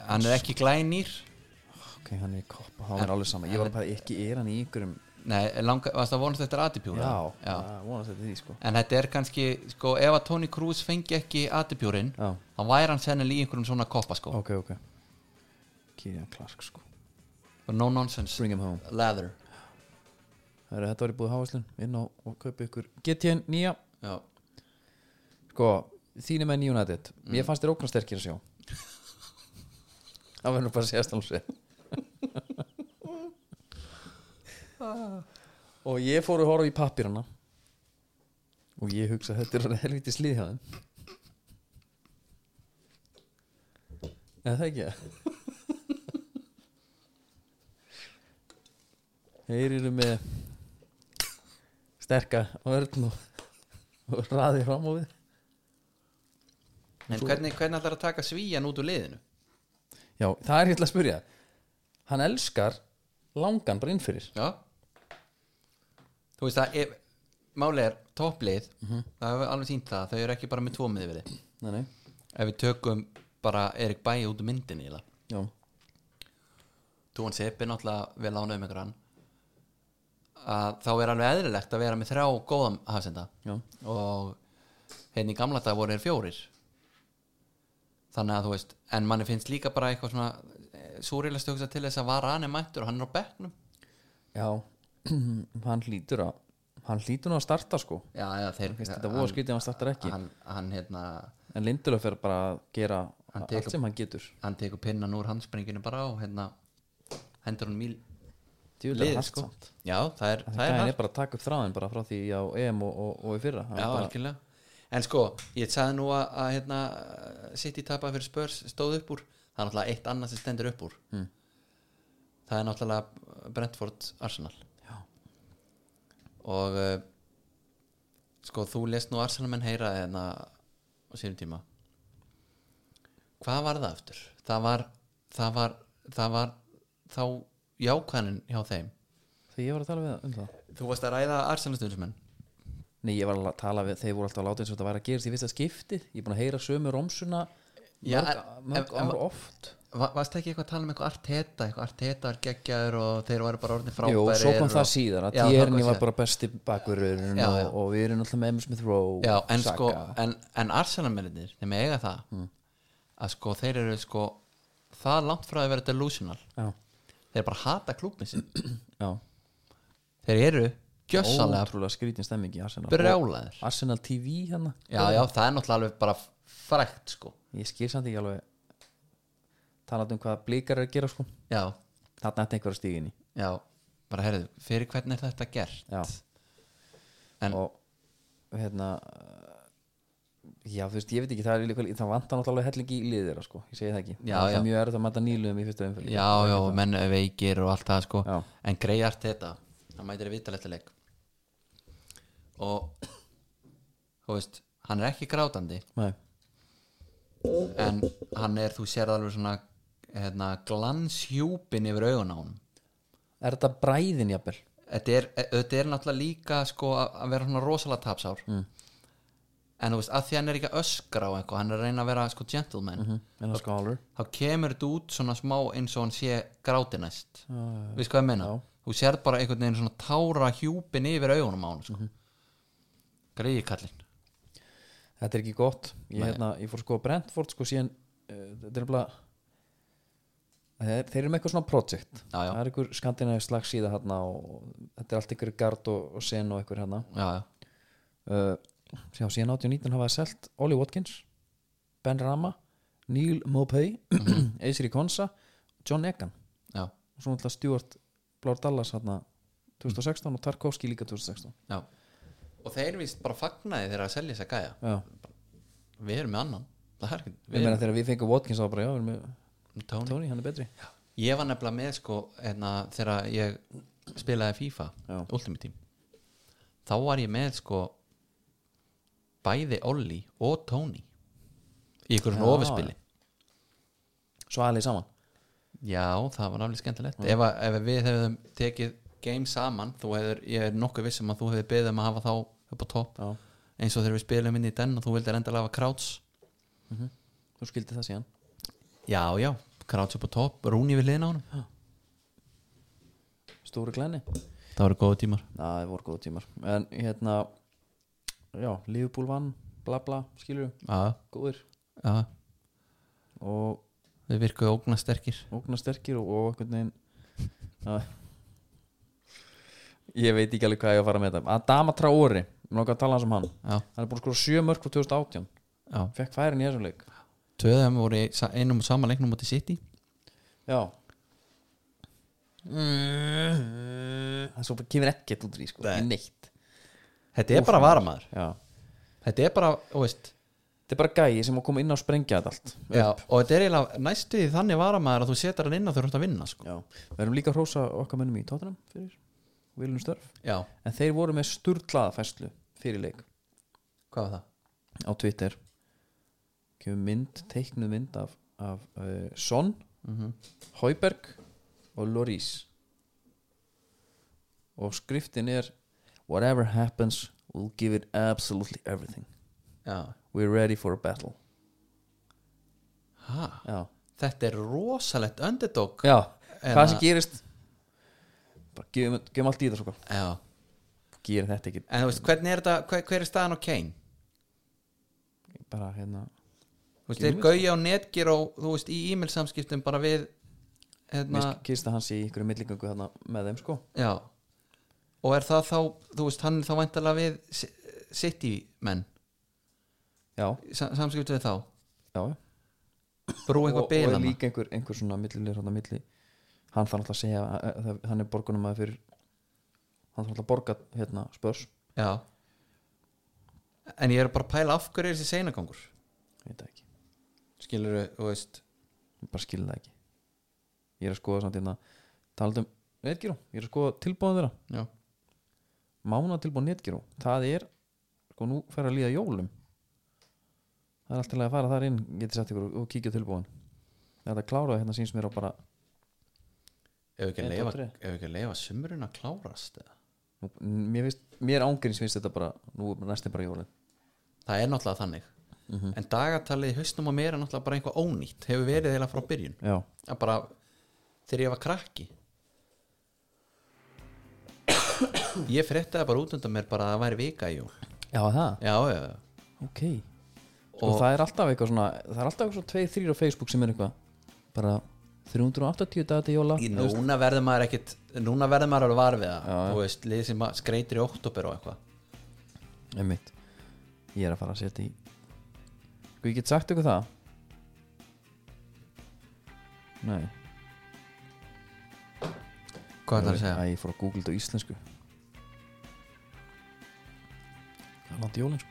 B: hann er ekki glænýr
A: ok, hann er í koppa, þá er alveg sama ég var bara ekki, er hann í ykkurum
B: Nei, langa, varst það vonast þetta atipjúra?
A: já, já. vonast þetta því sko
B: En þetta er kannski, sko, ef að Tony Cruz fengi ekki atipjúrin
A: Já.
B: Hann væri hann sennilega í einhverjum svona koppa, sko
A: ok, ok Kirian Clark sko
B: Og No nonsense
A: Bring him home.
B: Leather
A: Heru, þetta var í búið hávæslun, inn á og kaupi ykkur GTN nýja,
B: Já,
A: sko þínu menn í United, ég fannst þér ókvæm sterkir að sjá það verður nú bara að séast alveg og ég fór að horfa í pappirana og ég hugsa að þetta er orðið helviti slið hjá þeim eða það ekki það þeir eru með sterka vörn og, og raði fram á við
B: en hvernig, hvernig ætlar að taka svíjan út úr liðinu?
A: já, það er hérna að spyrja hann elskar langan bara innfyrir
B: Já Þú veist að ef, Máli er topplið
A: Mhm.
B: Það hefur alveg sínt það, þau eru ekki bara með tvo miðvili
A: nei, nei,
B: Ef við tökum bara Erik Bæi út úr myndinni eiginlega.
A: já,
B: Dúan Sepp er náttúrulega vel ánöfum ykkur hann að þá er alveg eðlilegt að vera með þrjá góðan hafsenda
A: Já.
B: og hérna í gamla dag voru þeir fjórir þannig að þú veist en manni finnst líka bara eitthvað svona súriðlega stöksa til þess að vara hann er mættur og hann er á bekknum
A: já hann hlýtur að hann hlýtur nú að starta sko
B: Já, já, þeir
A: Veist, þetta voru skrítið að hann startar ekki
B: hann, hann, hérna,
A: en Lindelöf er bara að gera
B: Hann tekur-
A: allt sem hann getur
B: hann tekur pinnan úr handspringinu bara og hérna hendur hann mýl
A: Djöfull er
B: liðið
A: hart
B: sko
A: samt.
B: Já, það er,
A: það
B: það
A: er,
B: er hart
A: bara að taka upp þráðin bara frá því á EM og, og, og í fyrra Hann
B: Já,
A: bara,
B: algjörlega En sko, ég sagði nú að, að hérna, City tapaði fyrir Spurs stóð upp úr það er náttúrulega eitt annað sem stendur upp úr mm. það er náttúrulega Brentford Arsenal Já. og uh, sko, þú lest nú Arsenal menn heyra hérna á sínum tíma hvað var það aftur? það var það var, það var þá jákvæðin hjá þeim
A: því ég var að tala við um það
B: þú varst að ræða Arsenal stundismenn
A: Nei, ég var að tala við, þeir voru alltaf að láta eins og þetta væri að gerast í fyrsta skiptið ég er búin að heyra sömu romsuna
B: Já,
A: mörg,
B: en-
A: mörg
B: en- en-
A: ár oft
B: Va- Varst ekki eitthvað að tala um eitthvað arteta eitthvað arteta er geggjaður og þeir eru bara orðin frábæri
A: Jú, svo kom það síðar að Tierni var bara besti bakverðurinn
B: Já,
A: og,
B: já.
A: og við erum alltaf með Emil Smith Rowe
B: Já, en
A: Saka.
B: sko, en, en Arsenal-mennir þeim eiga það
A: Mm.
B: að sko þeir eru sko það langt frá að vera delusional
A: já,
B: þeir bara hata klúbin sinn
A: já.
B: þeir eru gjössalega
A: ótrúlega skrítin stemming í Arsenal
B: brjálaður
A: Og Arsenal TV hérna
B: Já, já, það er náttúrulega alveg bara frækt sko
A: ég skil samt ekki alveg talað um hvað blíkar er að gera sko
B: Já,
A: þarna ætti einhver að stíga inn í
B: já, bara herðu fyrir hvernig er þetta gert
A: já.
B: En-
A: og hérna já þú veist ég veit ekki það, er líka, það vantar náttúrulega alveg helling í liðir sko. ég segi það ekki,
B: Já,
A: það
B: já.
A: er mjög erfitt að mata nýluðum í fyrsta umfyrir
B: já, já, menn er veikir og allt það sko
A: Já.
B: en greiðart þetta hann mætir í vitaletileik og þú veist, hann er ekki grátandi
A: Nei,
B: en hann er, þú sér alveg svona hérna, glanshjúpin yfir augun á hann
A: er þetta bræðin jafnvel
B: þetta er, e- þetta er náttúrulega líka sko, að að vera svona rosalega tapsár mm. en þú veist, að því hann er ekki að öskra á eitthvað, hann er að reyna að vera sko gentleman
A: en það skálur
B: þá kemur þetta út svona smá eins og hann sé grátinæst við sko að menna,
A: Já.
B: þú sér bara einhvern veginn svona tára hjúpin yfir augunum á hann sko. mm
A: Mhm.
B: -hmm. greiði kallinn
A: þetta er ekki gott ég, hérna, ég fór sko að Brentford sko síðan uh, þetta er bara þeir, þeir eru með eitthvað svona project
B: Já, já.
A: það er einhver skandinavi slagsíða hérna og þetta er allt einhver gard og, og sen og einhver hérna
B: já, já,
A: uh, sjá, síðan 1819 hafaði selt Ollie Watkins, Ben Rama Neil Maupay
B: Mhm.
A: Eisri Konsa, John Egan
B: já,
A: og svo náttúrulega Stuart Blár Dallas hérna 2016 og Tarkovski líka 2016
B: já og þeir vist bara fagnaði þegar að selja þess að gæja
A: já,
B: við erum með annan það er ekki,
A: ég
B: við
A: meina þegar við fengum Watkins þá bara já, við erum með
B: erum tóni
A: Tony, hann er betri
B: ég var nefnilega með sko hérna, þegar ég spilaði FIFA
A: Já.
B: Ultimate Team þá var ég með sko bæði Olli og Tony í ykkur svona
A: Já.
B: ofurspili
A: svo aðlið saman
B: Já, það var alveg skemmtilegt ef, að, ef við hefðum tekið game saman þú hefur, ég er nokkuð viss um að þú hefði beðið um að hafa þá upp á topp
A: já,
B: eins og þegar við spilum inn í den og þú vildir endalega hafa Krauts
A: þú skildi það síðan
B: Já, já, Krauts upp á topp, Rúni við liðin á hann
A: stóru glenni
B: það voru góða tímar
A: Na, það voru góð tímar en hérna, já, Liverpool vann bla bla, skilur við,
B: já,
A: góðir
B: já,
A: og
B: þau virkuðu ógnasterkir
A: ógna sterkir og, og einhvern veginn að, ég veit ekki alveg hvað ég á að fara með þetta Adama Traori, mér langar að tala hans um hann
B: já,
A: hann er búin að skora sjö mörg frá 2018
B: já,
A: fekk færin í þessum leik
B: töðum voru í sa- einum og saman leiknum mútið City
A: já það svo bara kemur ekkert út í því, sko, ekki neitt
B: þetta er bara varamaður
A: já.
B: þetta er bara, þú veist
A: þetta er bara gæi sem á að koma inn á að sprengja þetta allt
B: já, og þetta er eiginlega næstu því þannig varamaður að þú setar hann inn og þú ert að vinna sko.
A: já. við erum líka að hrósa okkar mönnum í tóttunum fyrir viljum störf
B: já,
A: en þeir voru með sturglaða fæslu fyrir leik
B: hvað var það?
A: á Twitter kemur mynd, teiknuð mynd af, af uh, Son mm
B: Mhm.
A: og Loris og skriftin er whatever happens we'll give it absolutely everything
B: Já.
A: we're ready for a battle
B: Ha,
A: já,
B: þetta er rosalegt underdog
A: já.
B: En
A: hvað
B: að-
A: sem gerist bara gefum, gefum allt í það sko.
B: Já.
A: gerir þetta ekki
B: en þú veist, hvernig er þetta, hver, hver er staðan á Kane?
A: bara hérna
B: þú veist, þeir gauja á netgir og þú veist, í e-mail samskiptum bara við hérna,
A: Mér kýrst að hann sé í ykkur millingangu þarna með þeim sko
B: já og er það þá, þú veist, hann er þá væntalega við Si- City menn
A: já,
B: sam samskiptum við þá
A: já, já
B: brú
A: og,
B: eitthvað
A: og er
B: byrðan
A: líka einhver, einhver svona millilir hann, milli, hann þarf alltaf að segja að- að- að- hann er borgunum að fyrir hann þarf alltaf að borga hérna spörs
B: já en ég er bara að pæla af hverju er þessi seinagangur
A: ég veit það ekki,
B: skilur þú veist
A: ég bara skil það ekki ég er að skoða samt hérna talandum netgyró, ég er að skoða tilbúðan þeirra
B: já,
A: mána tilbúðan netgyró, það er sko nú fer að líða jólum það er alltaf að fara þar inn getið sett ykkur og, og kíkja tilbúðan þetta kláraði hérna síns mér á bara
B: ef við ekki að
A: Einn,
B: leifa
A: tvo,
B: ef við ekki að leifa sumurinn að klárast eða?
A: nú, mér, finnst, mér ángurins finnst þetta bara nú er næstum bara jólum
B: það er náttúrulega þannig en dagatalið í hausnum á mér er náttúrulega bara eitthvað ónýtt hefur verið eða frá byrjun
A: já,
B: að bara þegar ég var krakki ég frétti það bara út undan mér bara að það væri vika í jól
A: já það
B: já, já, já.
A: ok sko, og það er alltaf eitthvað svona það er alltaf eitthvað svona 2-3 á Facebook sem er eitthvað bara 380 dagar til jóla
B: Í núna verður maður ekkit núna verður maður alveg var við það þú veist, lið sem maður skreitir í oktober og eitthvað
A: einmitt ég er að fara að setja í sko ég get sagt ykkur það nei
B: hvað er það að
A: Æ,
B: segja?
A: ég fór að googla þetta á íslensku það er langt í jólin sko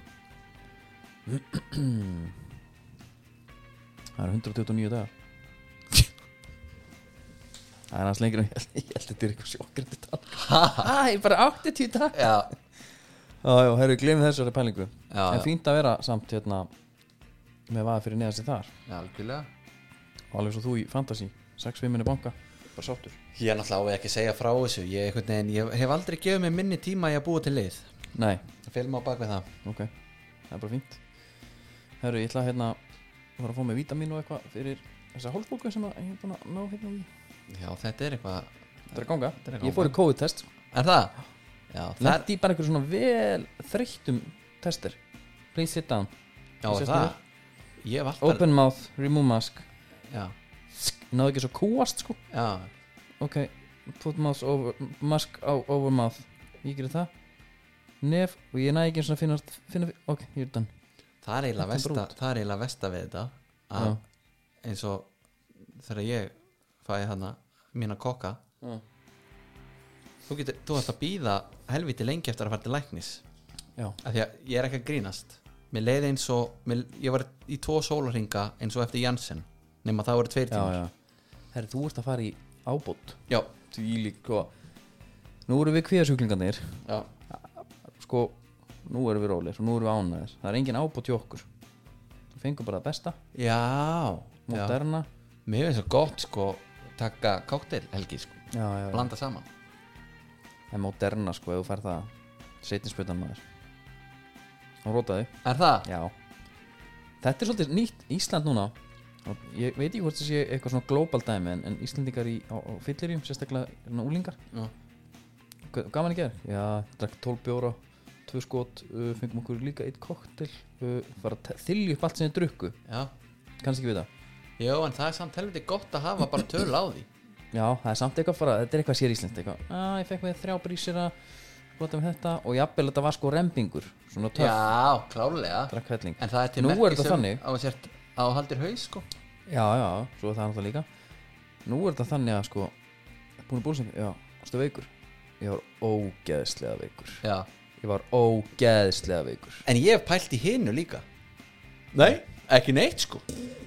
A: það eru 129 dagar það er hans lengur en ég held, ég held þetta er eitthvað sjokkert það er bara 80 dagar
B: já,
A: Jájá, herru, glemum þessari pælingu
B: Já,
A: En
B: já.
A: fínt að vera samt hérna með vaða fyrir neðan sér þar
B: já, algjörlega
A: og alveg svo þú í fantasy, sex við minni banka bara sáttur
B: ég er náttúrulega á við ekki að segja frá þessu ég, einhvern veginn, ég hef aldrei gefið mér minni tíma í að búa til lið
A: Nei,
B: það fyrir maður bak við það
A: ok, það er bara fínt Herru, ég ætla að hérna að fara að fá mig vítamín og eitthvað fyrir þessa hálfbólgu sem að ég er búin að ná hérna í
B: já, þetta er eitthvað
A: Þetta er að ganga,
B: er að
A: ég fór í COVID-test
B: er það? já, það er
A: Lendi bara einhver svona vel þreyttum tester Please sit down,
B: já,
A: Þú
B: er
A: sést
B: það ég hef alltaf
A: open mouth, remove mask
B: já,
A: Náðu ekki svo kúast sko
B: já
A: ok, put mouse over mask á over mouth ég gerði það, nef og ég næ ekki einu sinni að finna, finna ok, ég er done
B: það er
A: Þetta er
B: eiginlega versta það er eiginlega versta við þetta að
A: Já.
B: eins og þegar ég fæði hana mína kokka
A: Já.
B: þú getur, þú ætti að býða helviti lengi eftir að fara til læknis
A: já,
B: af því að ég er ekki að grínast mér leiði eins og, mér, ég var í tvo sólarhinga eins og eftir Janssen nema það voru tveir
A: já,
B: tímar
A: já herri, þú ert að fara í ábót
B: já,
A: því líka sko. nú erum við kviðasjúklingarnir
B: já,
A: sko, nú erum við rólir og nú erum við ánæðir það er engin ábót hjá okkur þú fengur bara það besta,
B: já.
A: moderna
B: mér finnst það gott sko taka káttel helgi sko
A: já, já, já.
B: blanda saman
A: en moderna sko, ef þú fær það setjinspötan maður hún rótaði
B: er það?
A: Já Þetta er svolítið nýtt Ísland núna og ég veit ekki hvort það sé eitthvað svona global dæmi en, en Íslandingar í, á, á fyllirum sérstaklega svona úlingar
B: Já.
A: Hvað- hérna Gaman í gerð? Já, drakk 12 bjóra Tvö skot, uh, fengum okkur líka eitt koktel uh, Var að te- þylja upp allt sem þið drukku
B: Já,
A: Kannski ekki við það
B: Jó, en það er samt helviti gott að hafa bara töl á því
A: Já, það er samt eitthvað bara, þetta er eitthvað sér íslenskt eitthvað Já, ég fekk með þrjá brísira Gott um þetta og jafnvel þetta var sko rembingur Svona töff,
B: Já, klálega
A: drakk helling
B: En það er til
A: Nú er
B: merki
A: þetta
B: sem
A: þannig.
B: á að sért á að haldir haus sko
A: Já, já, svo er það náttúrulega líka Nú er þetta þannig að sko Búin að búlsengu, já, stu veikur Ég var ógeðslega veikur
B: Já
A: Ég var ógeðslega veikur
B: En ég hef pælt í hinu líka Nei, ekki neitt sko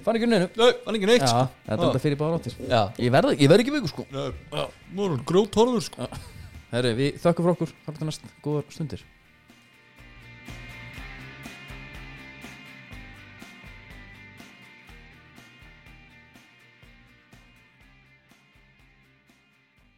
A: Fann ekki nöðinu
B: Nei, hann ekki neitt
A: Já, þetta er þetta fyrir bara ráttir
B: Já,
A: Ég verð, ég verð ekki veikur sko
B: já Nú er hann grjóttorður sko
A: Herri, við þökkum fyrir okkur Þar til næst, góðar stundir